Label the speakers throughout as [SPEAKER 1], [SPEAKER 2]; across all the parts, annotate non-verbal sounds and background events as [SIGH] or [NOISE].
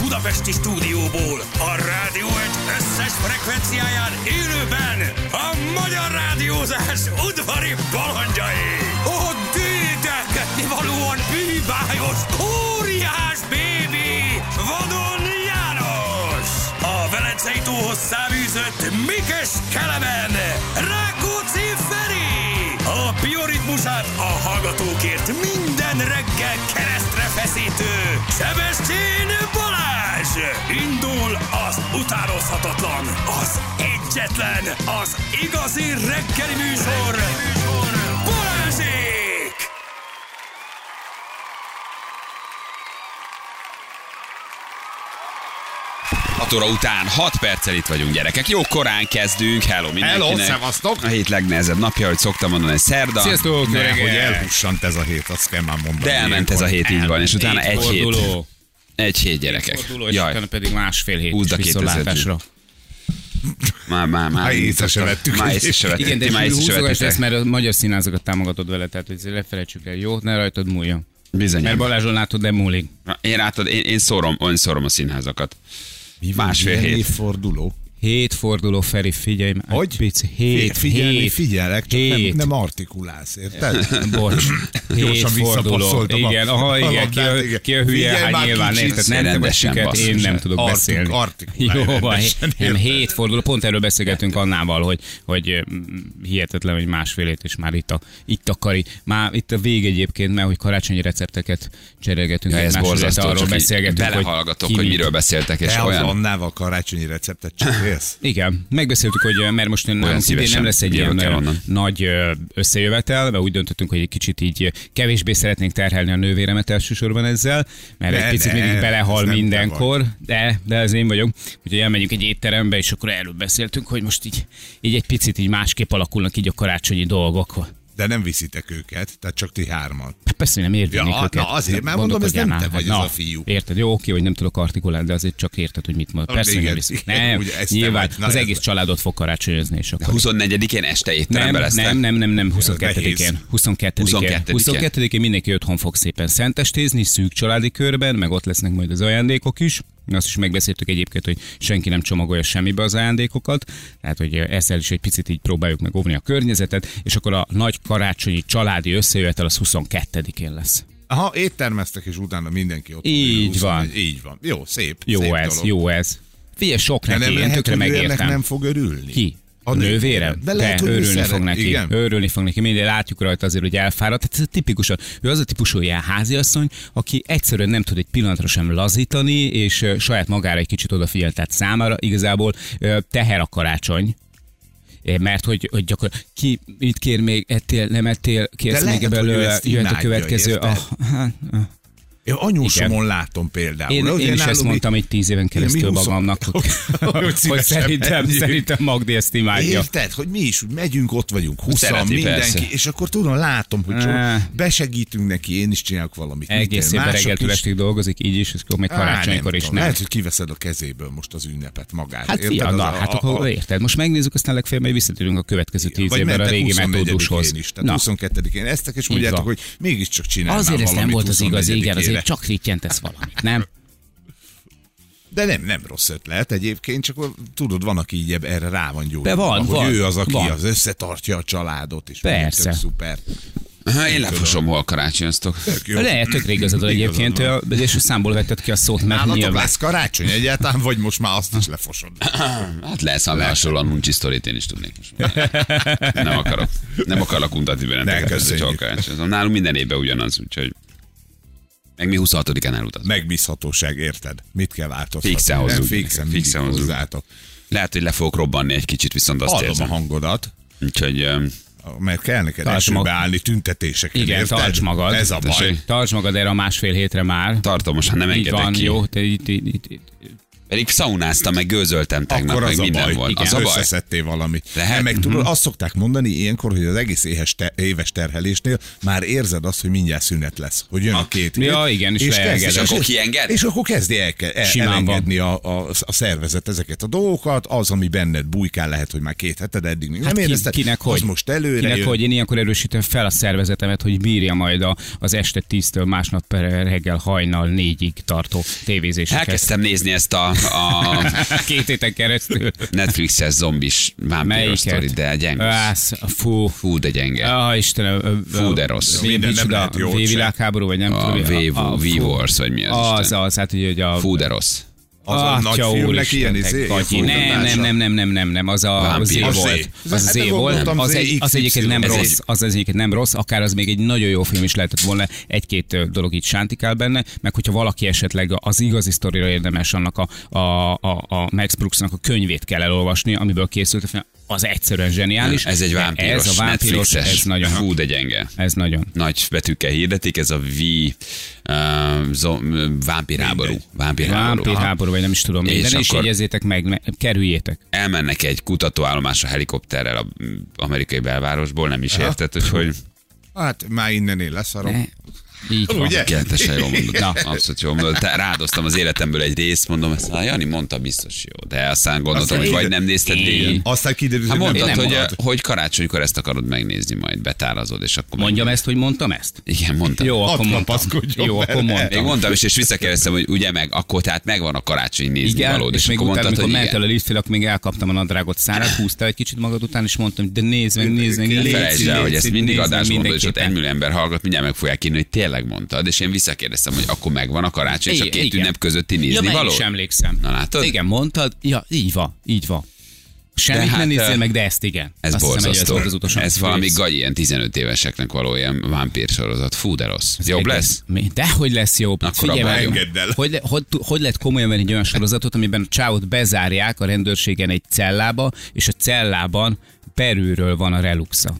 [SPEAKER 1] budapesti stúdióból, a rádió egy összes frekvenciáján élőben a magyar rádiózás udvari balandjai. A dédelgetni valóan bűbájos, óriás bébi, vadon János. A Velencei tóhoz száműzött Mikes Kelemen, Rákóczi Feri. A bioritmusát a hallgatókért minden reggel keresztre feszítő Sebestyén Balázs! Indul az utánozhatatlan, az egyetlen, az igazi reggeli műsor, Balázsék!
[SPEAKER 2] Hat óra után 6 perccel itt vagyunk, gyerekek. Jó korán kezdünk. Hello mindenkinek.
[SPEAKER 3] Hello, szevasztok.
[SPEAKER 2] A hét legnehezebb napja, hogy szoktam mondani, ez szerda.
[SPEAKER 4] Sziasztok,
[SPEAKER 3] Ne,
[SPEAKER 4] öregek!
[SPEAKER 3] hogy elhussant ez a hét, azt kell már mondani.
[SPEAKER 2] De elment ez a hét, így van. És utána egy hét.
[SPEAKER 4] Forduló.
[SPEAKER 2] Egy hét, gyerekek.
[SPEAKER 4] Forduló, és
[SPEAKER 2] Jaj,
[SPEAKER 4] utána pedig másfél hét
[SPEAKER 2] Húzd a
[SPEAKER 4] is viszontlátásra.
[SPEAKER 2] már, már, már.
[SPEAKER 3] Ha észre se vettük.
[SPEAKER 2] Már észre se vettük.
[SPEAKER 4] Igen, de
[SPEAKER 2] Ti már
[SPEAKER 4] egy
[SPEAKER 2] észre se
[SPEAKER 4] húzogás lesz,
[SPEAKER 2] vettétek.
[SPEAKER 4] mert a magyar színházakat támogatod vele, tehát hogy ne felejtsük el, jó? Ne rajtad múljon.
[SPEAKER 2] Bizony.
[SPEAKER 4] Mert Balázson látod, nem múlik.
[SPEAKER 2] Én látod, én, én szórom, én szórom a színházakat.
[SPEAKER 3] Mi
[SPEAKER 2] van, Másfél milyen hét.
[SPEAKER 3] forduló.
[SPEAKER 4] Hét forduló, Feri, figyelj már.
[SPEAKER 3] Hogy?
[SPEAKER 4] Pici, hét,
[SPEAKER 3] Figyelni,
[SPEAKER 4] hét,
[SPEAKER 3] figyelek, csak
[SPEAKER 4] hét.
[SPEAKER 3] nem, nem artikulálsz, érted?
[SPEAKER 4] Bocs, hét
[SPEAKER 3] Gyorsan
[SPEAKER 4] forduló.
[SPEAKER 3] visszapasszoltam a-
[SPEAKER 4] Igen, aha,
[SPEAKER 3] a
[SPEAKER 4] igen,
[SPEAKER 3] labdát,
[SPEAKER 4] ki a,
[SPEAKER 3] igen.
[SPEAKER 4] ki a hülye,
[SPEAKER 3] Figyelj
[SPEAKER 4] hát
[SPEAKER 3] már
[SPEAKER 4] nyilván
[SPEAKER 3] kicsit,
[SPEAKER 4] érted, nem te vagy
[SPEAKER 2] rendesen
[SPEAKER 4] süket, én
[SPEAKER 2] basszus,
[SPEAKER 4] nem tudok
[SPEAKER 3] Artik-
[SPEAKER 4] beszélni.
[SPEAKER 3] artikulálj
[SPEAKER 4] Jó, van,
[SPEAKER 3] rendesen,
[SPEAKER 4] nem,
[SPEAKER 3] érted?
[SPEAKER 4] hét forduló, pont erről beszélgettünk Annával, hogy, hogy mm, hihetetlen, hogy másfélét és már itt a, itt a kari. Már itt a vég egyébként, mert hogy karácsonyi recepteket cserélgetünk
[SPEAKER 2] Ja, ez
[SPEAKER 4] egymásra,
[SPEAKER 2] borzasztó,
[SPEAKER 4] tehát
[SPEAKER 2] arról csak
[SPEAKER 4] arról
[SPEAKER 2] beszélgetünk,
[SPEAKER 4] beszélgetünk,
[SPEAKER 2] belehallgatok,
[SPEAKER 4] ki
[SPEAKER 2] hogy,
[SPEAKER 4] mit-
[SPEAKER 2] miről beszéltek, [LAUGHS] és
[SPEAKER 3] Te az
[SPEAKER 2] olyan
[SPEAKER 3] Annával karácsonyi receptet cserélsz?
[SPEAKER 4] igen, megbeszéltük, hogy eh, mert most nem,
[SPEAKER 2] Olyan
[SPEAKER 4] nem, idén
[SPEAKER 2] szívesen
[SPEAKER 4] nem lesz egy
[SPEAKER 2] jövök
[SPEAKER 4] ilyen
[SPEAKER 2] el
[SPEAKER 4] eh,
[SPEAKER 2] onnan.
[SPEAKER 4] nagy eh, összejövetel, mert úgy döntöttünk, hogy egy kicsit így eh, kevésbé szeretnénk terhelni a nővéremet elsősorban ezzel, mert
[SPEAKER 3] Ne,
[SPEAKER 4] egy picit
[SPEAKER 3] ne,
[SPEAKER 4] mindig belehal
[SPEAKER 3] ez nem te
[SPEAKER 4] mindenkor, de, de ez én vagyok. Úgyhogy elmegyünk egy étterembe, és akkor erről beszéltünk, hogy most így, így egy picit így másképp alakulnak így a karácsonyi dolgok.
[SPEAKER 3] De nem viszitek őket, tehát csak ti hárman.
[SPEAKER 4] Hát Persze, hogy nem érdenik
[SPEAKER 3] Ja,
[SPEAKER 4] őket.
[SPEAKER 3] na, azért, mert
[SPEAKER 4] Gondolkodjál már,
[SPEAKER 3] mondom, ez nem te
[SPEAKER 4] hát
[SPEAKER 3] vagy
[SPEAKER 4] na,
[SPEAKER 3] az a fiú.
[SPEAKER 4] Érted, jó, oké, hogy nem tudok artikulálni, de azért csak érted, hogy mit mond.
[SPEAKER 3] Na,
[SPEAKER 4] Persze, hogy nem
[SPEAKER 3] igen, [LAUGHS]
[SPEAKER 4] viszont.
[SPEAKER 3] igen,
[SPEAKER 4] Nem,
[SPEAKER 3] ugye ez te
[SPEAKER 4] nyilván
[SPEAKER 3] vagy. Na,
[SPEAKER 4] az
[SPEAKER 3] ez
[SPEAKER 4] egész
[SPEAKER 3] vagy.
[SPEAKER 4] családot fog karácsonyozni, és akkor
[SPEAKER 2] 24-én este étterembe
[SPEAKER 4] nem,
[SPEAKER 2] lesztek.
[SPEAKER 4] nem, nem, nem, nem, 22-én.
[SPEAKER 3] Nehéz.
[SPEAKER 4] 22-én.
[SPEAKER 2] 22-én.
[SPEAKER 4] 22-én mindenki otthon fog szépen szentestézni, szűk családi körben, meg ott lesznek majd az ajándékok is. Azt is megbeszéltük egyébként, hogy senki nem csomagolja semmibe az ajándékokat, tehát hogy ezzel is egy picit így próbáljuk meg óvni a környezetet, és akkor a nagy karácsonyi családi összejövetel az 22-én lesz.
[SPEAKER 3] Aha, éttermeztek, és utána mindenki ott.
[SPEAKER 4] Így
[SPEAKER 3] Húsz-
[SPEAKER 4] van.
[SPEAKER 3] Így van. Jó, szép.
[SPEAKER 4] Jó
[SPEAKER 3] szép
[SPEAKER 4] ez,
[SPEAKER 3] dolog.
[SPEAKER 4] jó ez. Figyelj, sok
[SPEAKER 3] De
[SPEAKER 4] neki,
[SPEAKER 3] nem
[SPEAKER 4] én
[SPEAKER 3] lehet,
[SPEAKER 4] tökre
[SPEAKER 3] hogy ő ennek
[SPEAKER 4] megértem.
[SPEAKER 3] nem fog örülni.
[SPEAKER 4] Ki? A
[SPEAKER 3] nő-
[SPEAKER 4] nővérem?
[SPEAKER 3] De lehet, hogy ő
[SPEAKER 4] örülni
[SPEAKER 3] szeret.
[SPEAKER 4] fog neki.
[SPEAKER 3] Igen.
[SPEAKER 4] Örülni fog neki. Mindig látjuk rajta azért, hogy elfáradt. Tehát ez tipikusan. Ő az a típusú ilyen háziasszony, aki egyszerűen nem tud egy pillanatra sem lazítani, és ö, saját magára egy kicsit odafigyel. Tehát számára igazából ö, teher a karácsony. É, Mert hogy, hogy gyakor, ki mit kér még, ettél, nem ettél, kérsz
[SPEAKER 3] De
[SPEAKER 4] még
[SPEAKER 3] lehet, hogy ő
[SPEAKER 4] belőle,
[SPEAKER 3] ezt
[SPEAKER 4] jöhet a
[SPEAKER 3] imádja,
[SPEAKER 4] következő.
[SPEAKER 3] érted?
[SPEAKER 4] hát, ah.
[SPEAKER 3] Én anyósomon látom például.
[SPEAKER 4] Én,
[SPEAKER 3] Ugye
[SPEAKER 4] én is
[SPEAKER 3] nálunk
[SPEAKER 4] ezt
[SPEAKER 3] mi-
[SPEAKER 4] mondtam így tíz éven keresztül
[SPEAKER 3] mi huszon-
[SPEAKER 4] magamnak, hogy,
[SPEAKER 3] [LAUGHS]
[SPEAKER 4] hogy,
[SPEAKER 3] szívesen
[SPEAKER 4] szerintem,
[SPEAKER 3] menjünk.
[SPEAKER 4] szerintem Magdi ezt imádja.
[SPEAKER 3] Érted, hogy mi is úgy megyünk, ott vagyunk, huszan,
[SPEAKER 2] Szereti,
[SPEAKER 3] mindenki,
[SPEAKER 2] persze.
[SPEAKER 3] és akkor tudom, látom, hogy
[SPEAKER 4] Á.
[SPEAKER 3] csak besegítünk neki, én is csinálok valamit. Mit
[SPEAKER 4] Egész
[SPEAKER 3] én,
[SPEAKER 4] évben
[SPEAKER 3] mások
[SPEAKER 4] reggeltől
[SPEAKER 3] is-
[SPEAKER 4] estig dolgozik, így is, és akkor még
[SPEAKER 3] Á, nem
[SPEAKER 4] karácsonykor is
[SPEAKER 3] tudom.
[SPEAKER 4] nem.
[SPEAKER 3] Lehet, hogy kiveszed a kezéből most az ünnepet magát.
[SPEAKER 4] Hát
[SPEAKER 3] érted?
[SPEAKER 4] fia,
[SPEAKER 3] Az
[SPEAKER 4] na,
[SPEAKER 3] a-
[SPEAKER 4] hát
[SPEAKER 3] a-
[SPEAKER 4] akkor
[SPEAKER 3] a-
[SPEAKER 4] érted. Most megnézzük, aztán legfeljebb majd visszatérünk a következő tíz
[SPEAKER 3] vagy
[SPEAKER 4] évben a
[SPEAKER 3] mentek
[SPEAKER 4] régi
[SPEAKER 3] 24-én
[SPEAKER 4] metódushoz.
[SPEAKER 3] Is, tehát
[SPEAKER 4] Na,
[SPEAKER 3] 22-én eztek, és mondjátok,
[SPEAKER 4] van.
[SPEAKER 3] hogy mégiscsak csinálnám
[SPEAKER 4] azért ez nem
[SPEAKER 3] valamit
[SPEAKER 4] volt az igazi, igen,
[SPEAKER 3] 24-ére.
[SPEAKER 4] azért csak rittyentesz valamit, nem?
[SPEAKER 3] De nem, nem rossz ötlet egyébként, csak tudod, van, aki így eb- erre rá van gyógyulva.
[SPEAKER 4] De van,
[SPEAKER 3] hogy
[SPEAKER 4] van,
[SPEAKER 3] ő az, aki
[SPEAKER 4] van.
[SPEAKER 3] az összetartja a családot, és
[SPEAKER 4] Persze. Hát
[SPEAKER 3] tök szuper.
[SPEAKER 2] Aha, Én lefosom, hol karácsonyoztok.
[SPEAKER 3] Tök jó.
[SPEAKER 4] Lehet, tök igazad van
[SPEAKER 3] Igazad
[SPEAKER 4] egyébként,
[SPEAKER 3] van.
[SPEAKER 4] ö, és számból vetted ki a szót, mert
[SPEAKER 3] Nálatok
[SPEAKER 4] nyilván.
[SPEAKER 3] lesz karácsony egyáltalán, vagy most már azt is lefosod.
[SPEAKER 2] Hát lesz, ha hasonlóan muncsi sztorit én is tudnék. most mondani. Nem akarok. Nem akarok untatni
[SPEAKER 3] Ne,
[SPEAKER 2] benneteket. ez egy
[SPEAKER 3] köszönjük.
[SPEAKER 2] csalkás. Nálunk minden évben ugyanaz, úgyhogy meg mi 26-án elutazunk.
[SPEAKER 3] Megbízhatóság, érted? Mit kell változtatni?
[SPEAKER 2] Fixen
[SPEAKER 3] Nem,
[SPEAKER 2] hozzuk.
[SPEAKER 3] Fixen,
[SPEAKER 2] Fixen
[SPEAKER 3] fixen
[SPEAKER 2] hozzuk.
[SPEAKER 3] hozzátok.
[SPEAKER 2] Lehet, hogy le fogok robbanni egy kicsit, viszont azt
[SPEAKER 3] Hallom a
[SPEAKER 2] érzem.
[SPEAKER 3] hangodat,
[SPEAKER 2] Úgyhogy öm,
[SPEAKER 3] mert kell neked
[SPEAKER 4] Tartsd
[SPEAKER 3] esőbe
[SPEAKER 4] mag-
[SPEAKER 3] állni tüntetéseket.
[SPEAKER 4] Igen,
[SPEAKER 3] érted?
[SPEAKER 4] tartsd magad.
[SPEAKER 3] Ez a baj.
[SPEAKER 2] Tessék.
[SPEAKER 4] Tartsd magad erre a másfél hétre már.
[SPEAKER 2] tartom, most hát nem
[SPEAKER 4] Így
[SPEAKER 2] engedek
[SPEAKER 4] van,
[SPEAKER 2] ki.
[SPEAKER 4] jó, te itt, itt, itt, itt
[SPEAKER 2] Pedig szaunáztam, meg gőzöltem tegnap,
[SPEAKER 3] Akkor
[SPEAKER 2] meg
[SPEAKER 3] az a
[SPEAKER 2] minden
[SPEAKER 3] baj.
[SPEAKER 2] volt.
[SPEAKER 3] Igen.
[SPEAKER 2] Az a baj.
[SPEAKER 3] Összeszedtél valamit.
[SPEAKER 2] Lehet.
[SPEAKER 3] Nem,
[SPEAKER 4] Mhm.
[SPEAKER 3] meg tudod, azt szokták mondani ilyenkor, hogy az egész éhes te- éves terhelésnél már érzed azt, hogy mindjárt szünet lesz, hogy jön a két év.
[SPEAKER 4] Ja, igen, és
[SPEAKER 3] kezdi-
[SPEAKER 4] leenged.
[SPEAKER 2] És akkor kienged?
[SPEAKER 3] És akkor kezdi el, el,
[SPEAKER 4] Simán van.
[SPEAKER 3] elengedni a, a, a, szervezet ezeket a dolgokat, az, ami benned bujkál, lehet, hogy már két heted eddig még
[SPEAKER 4] Hát
[SPEAKER 3] nem
[SPEAKER 4] ki,
[SPEAKER 3] érezted,
[SPEAKER 4] kinek
[SPEAKER 3] az
[SPEAKER 4] hogy?
[SPEAKER 3] most előre
[SPEAKER 4] kinek
[SPEAKER 3] jön.
[SPEAKER 4] hogy én ilyenkor erősítem fel a szervezetemet, hogy bírja majd a, az este 10-től másnap per reggel hajnal négyig tartó tévézéseket.
[SPEAKER 2] Elkezdtem nézni ezt a, a
[SPEAKER 4] [LAUGHS] Két héten
[SPEAKER 2] [LAUGHS]
[SPEAKER 4] keresztül.
[SPEAKER 2] Netflixes zombis vámpíros
[SPEAKER 4] Melyiket?
[SPEAKER 2] sztorit, de gyenge.
[SPEAKER 4] Ász, fú.
[SPEAKER 2] Fú, de gyenge.
[SPEAKER 4] Ah, Istenem. ö, ö,
[SPEAKER 2] Fú, de rossz.
[SPEAKER 4] mi-
[SPEAKER 3] Minden nem
[SPEAKER 4] micsoda,
[SPEAKER 3] lehet jót se.
[SPEAKER 4] V-világháború, vagy nem
[SPEAKER 2] A
[SPEAKER 4] tudom. mi- a- a- fú.
[SPEAKER 2] V-Wars, vagy mi az
[SPEAKER 4] Az,
[SPEAKER 2] Isten.
[SPEAKER 4] az, hát ugye, hogy a...
[SPEAKER 2] Fú, de rossz.
[SPEAKER 3] Az a nagy
[SPEAKER 4] Atya
[SPEAKER 3] filmnek
[SPEAKER 4] úristen,
[SPEAKER 3] ilyen
[SPEAKER 4] te
[SPEAKER 3] izé-
[SPEAKER 4] gagyi.
[SPEAKER 3] ilyen
[SPEAKER 4] nem,
[SPEAKER 3] fordítása.
[SPEAKER 4] nem, nem, nem, nem, nem, nem, az a
[SPEAKER 2] Vámpír.
[SPEAKER 4] az é
[SPEAKER 2] Az
[SPEAKER 4] volt.
[SPEAKER 3] Z.
[SPEAKER 4] Az az
[SPEAKER 3] Hát
[SPEAKER 4] é
[SPEAKER 3] ebből
[SPEAKER 4] volt.
[SPEAKER 3] gondoltam,
[SPEAKER 4] Az,
[SPEAKER 3] Z,
[SPEAKER 4] egy, az
[SPEAKER 3] XY.
[SPEAKER 4] egyébként nem
[SPEAKER 2] Ez
[SPEAKER 4] rossz,
[SPEAKER 2] egy-
[SPEAKER 4] az egyébként nem rossz, akár az még egy nagyon jó film is lehetett volna, egy-két ö, dolog itt sántikál benne, meg hogyha valaki esetleg az igazi sztorira érdemes, annak a, a, a, a Max Brooksnak a könyvét kell elolvasni, amiből készült a film, az egyszerűen zseniális.
[SPEAKER 2] Ez egy
[SPEAKER 4] de
[SPEAKER 2] vámpíros,
[SPEAKER 4] Ez a vámpíros,
[SPEAKER 2] Netflixes.
[SPEAKER 4] ez nagyon,
[SPEAKER 2] Fú, de gyenge.
[SPEAKER 4] ez nagyon.
[SPEAKER 2] Nagy betűkkel hirdetik, ez a V uh, zo- vámpirháború. Vámpirháború.
[SPEAKER 4] Vámpír
[SPEAKER 2] Aha.
[SPEAKER 4] háború, vagy nem is tudom.
[SPEAKER 2] És
[SPEAKER 4] Minden is
[SPEAKER 2] akkor-
[SPEAKER 4] jegyezzétek meg, meg, kerüljétek.
[SPEAKER 2] Elmennek egy kutatóállomásra helikopterrel a mm, amerikai belvárosból, nem is érted, hogy hogy...
[SPEAKER 3] Hát már innen én leszarom.
[SPEAKER 4] Ne. Így van.
[SPEAKER 2] [LAUGHS]
[SPEAKER 3] Ugye?
[SPEAKER 2] Tökéletesen jól mondod.
[SPEAKER 4] Na.
[SPEAKER 3] [LAUGHS]
[SPEAKER 2] Na. Abszolút jól mondod. Te- Rádoztam az életemből egy részt, mondom, ezt a Jani mondta biztos jó, de aztán gondoltam,
[SPEAKER 3] Aztán
[SPEAKER 2] hogy vagy
[SPEAKER 3] így-
[SPEAKER 2] nem nézted végig.
[SPEAKER 3] Aztán kiderült,
[SPEAKER 2] Hát
[SPEAKER 3] hogy nem
[SPEAKER 2] mondtad,
[SPEAKER 3] tudod.
[SPEAKER 2] hogy, hogy karácsonykor ezt akarod megnézni, majd betárazod, és akkor
[SPEAKER 4] Mondjam
[SPEAKER 2] megnézed.
[SPEAKER 4] ezt, hogy mondtam ezt?
[SPEAKER 2] Igen, mondtam.
[SPEAKER 4] Jó,
[SPEAKER 3] Hadd
[SPEAKER 4] akkor mondtam.
[SPEAKER 3] kapaszkodjon
[SPEAKER 4] Jó,
[SPEAKER 3] bele.
[SPEAKER 4] akkor
[SPEAKER 2] Még
[SPEAKER 4] mondtam.
[SPEAKER 2] mondtam is, és visszakérdeztem, hogy ugye meg, akkor tehát megvan a karácsony nézni
[SPEAKER 4] Igen,
[SPEAKER 2] valód,
[SPEAKER 4] és, még
[SPEAKER 2] akkor
[SPEAKER 4] utána,
[SPEAKER 2] mondtad,
[SPEAKER 4] amikor
[SPEAKER 2] hogy
[SPEAKER 4] ment el a
[SPEAKER 2] igen.
[SPEAKER 4] liftfél, akkor még elkaptam a nadrágot, szárat húztál egy kicsit magad után, és mondtam, hogy de nézd meg, nézd meg, légy
[SPEAKER 2] Felejtsd
[SPEAKER 4] szíves,
[SPEAKER 2] el, hogy ezt
[SPEAKER 4] nézd
[SPEAKER 2] mindig
[SPEAKER 4] meg
[SPEAKER 2] adás mondod, és ott
[SPEAKER 4] mindenképpen.
[SPEAKER 2] egymillió ember hallgat, mindjárt meg fogják írni, hogy tényleg mondtad, és én visszakérdeztem, hogy akkor megvan a karácsony, és a
[SPEAKER 4] Igen,
[SPEAKER 2] két
[SPEAKER 4] igen.
[SPEAKER 2] ünnep közötti nézni
[SPEAKER 4] ja,
[SPEAKER 2] való.
[SPEAKER 4] való? is emlékszem.
[SPEAKER 2] Na látod?
[SPEAKER 4] Igen, mondtad, ja, így van, így van. Semmit
[SPEAKER 2] De hát,
[SPEAKER 4] nem nézzél
[SPEAKER 2] eh,
[SPEAKER 4] meg, de ezt igen.
[SPEAKER 2] Ez
[SPEAKER 4] Azt hiszem, hogy
[SPEAKER 2] borzasztó.
[SPEAKER 4] volt az utolsó
[SPEAKER 2] ez valami
[SPEAKER 4] rész.
[SPEAKER 2] gagy, ilyen 15 éveseknek való ilyen vámpír sorozat. Fú, de rossz. Jobb
[SPEAKER 4] Igen.
[SPEAKER 2] lesz?
[SPEAKER 4] Mi? De hogy lesz jobb?
[SPEAKER 2] Akkor
[SPEAKER 4] Figyelj
[SPEAKER 2] abba
[SPEAKER 4] már,
[SPEAKER 3] engedd el.
[SPEAKER 4] Hogy, le- hogy, hogy lehet komolyan venni egy olyan sorozatot, amiben a csávot bezárják a rendőrségen egy cellába, és a cellában belülről van a reluxa.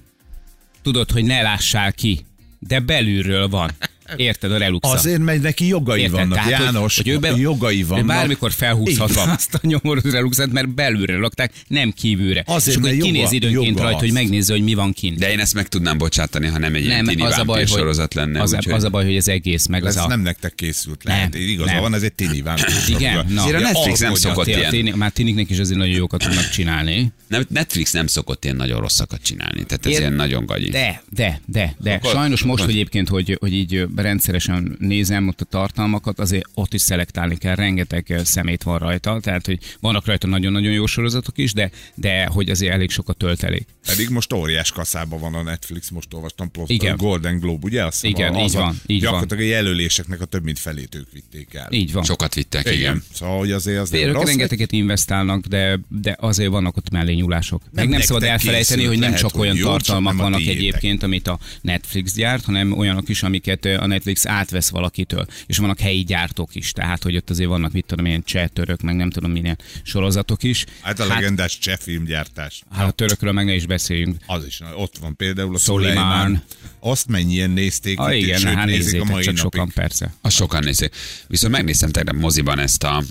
[SPEAKER 4] Tudod, hogy ne lássál ki, de belülről van. Érted a reluxa?
[SPEAKER 3] Azért, mert neki jogai
[SPEAKER 4] Érted?
[SPEAKER 3] vannak,
[SPEAKER 4] Tehát,
[SPEAKER 3] János,
[SPEAKER 4] hogy, hogy ő be,
[SPEAKER 3] jogai
[SPEAKER 4] ő
[SPEAKER 3] vannak.
[SPEAKER 4] Bármikor felhúzhatva
[SPEAKER 3] Így van.
[SPEAKER 4] azt a nyomorú reluxát, mert belülről lakták, nem kívülre.
[SPEAKER 3] Azért,
[SPEAKER 4] és akkor
[SPEAKER 3] mert
[SPEAKER 4] kinéz
[SPEAKER 3] joga-
[SPEAKER 4] időnként
[SPEAKER 3] joga
[SPEAKER 4] rajta, hogy
[SPEAKER 3] az.
[SPEAKER 4] megnézze, hogy mi van kint.
[SPEAKER 2] De én ezt meg tudnám bocsátani, ha nem egy ilyen
[SPEAKER 4] nem,
[SPEAKER 2] tini
[SPEAKER 4] az a baj,
[SPEAKER 2] vámpír
[SPEAKER 4] hogy
[SPEAKER 2] sorozat lenne.
[SPEAKER 4] Az, a,
[SPEAKER 2] úgyhogy-
[SPEAKER 4] az a baj, hogy az egész, meg
[SPEAKER 3] Ez
[SPEAKER 4] az a...
[SPEAKER 3] nem nektek készült, lehet.
[SPEAKER 4] Nem,
[SPEAKER 3] Igaza
[SPEAKER 4] nem. Hát,
[SPEAKER 3] van, ez egy tini vámpír.
[SPEAKER 4] Igen, na.
[SPEAKER 2] Azért a
[SPEAKER 4] Ja,
[SPEAKER 2] Netflix nem
[SPEAKER 4] alkotja,
[SPEAKER 2] szokott
[SPEAKER 4] té-
[SPEAKER 2] ilyen.
[SPEAKER 4] téni- Már tiniknek is azért nagyon jókat tudnak csinálni.
[SPEAKER 2] Nem, Netflix nem szokott ilyen nagyon rosszakat csinálni, tehát ez
[SPEAKER 4] Én-
[SPEAKER 2] ilyen nagyon gagyi.
[SPEAKER 4] De, de, de, de.
[SPEAKER 2] Akkor-
[SPEAKER 4] Sajnos most
[SPEAKER 2] akkor-
[SPEAKER 4] hogy egyébként, hogy, hogy így ö, rendszeresen nézem ott a tartalmakat, azért ott is szelektálni kell, rengeteg ö, szemét van rajta, tehát hogy vannak rajta nagyon-nagyon jó sorozatok is, de, de hogy azért elég sok a töltelék.
[SPEAKER 3] Pedig most óriás kaszában van a Netflix, most olvastam pont
[SPEAKER 4] Igen.
[SPEAKER 3] a Golden Globe, ugye? Azt hiszem,
[SPEAKER 4] Igen,
[SPEAKER 3] a- az
[SPEAKER 4] így
[SPEAKER 3] a-
[SPEAKER 4] van, így van.
[SPEAKER 3] Gyakorlatilag a jelöléseknek a több mint felét ők vitték el.
[SPEAKER 4] Így van.
[SPEAKER 2] Sokat vittek, igen.
[SPEAKER 3] Igen. Szóval, hogy azért az nem
[SPEAKER 4] Ők
[SPEAKER 3] rossz.
[SPEAKER 4] rengeteget investálnak, de, de azért vannak ott mellé nyúlások. Meg nem
[SPEAKER 3] nektek
[SPEAKER 4] szabad elfelejteni,
[SPEAKER 3] készült,
[SPEAKER 4] hogy nem
[SPEAKER 3] lehet,
[SPEAKER 4] csak
[SPEAKER 3] hogy
[SPEAKER 4] olyan
[SPEAKER 3] jó, csak
[SPEAKER 4] tartalmak
[SPEAKER 3] nem a
[SPEAKER 4] vannak
[SPEAKER 3] tiétek.
[SPEAKER 4] egyébként, amit a Netflix gyárt, hanem olyanok is, amiket ö, a Netflix átvesz valakitől. És vannak helyi gyártók is, tehát hogy ott azért vannak, mit tudom, ilyen csehtörök, meg nem tudom, milyen sorozatok is.
[SPEAKER 3] Hát a legendás cseh filmgyártás.
[SPEAKER 4] hát a törökről meg ne is beszéljünk.
[SPEAKER 3] Az is, nagy. ott van például a
[SPEAKER 4] Szolymán.
[SPEAKER 3] Szolymán. Azt mennyien nézték,
[SPEAKER 4] Ah,
[SPEAKER 3] itt,
[SPEAKER 4] igen,
[SPEAKER 3] sőt,
[SPEAKER 4] hát
[SPEAKER 3] nézik a
[SPEAKER 4] nézzétek,
[SPEAKER 3] mai
[SPEAKER 4] csak
[SPEAKER 3] napig.
[SPEAKER 4] sokan persze.
[SPEAKER 2] Azt sokan nézik. Viszont megnéztem tegnap moziban ezt a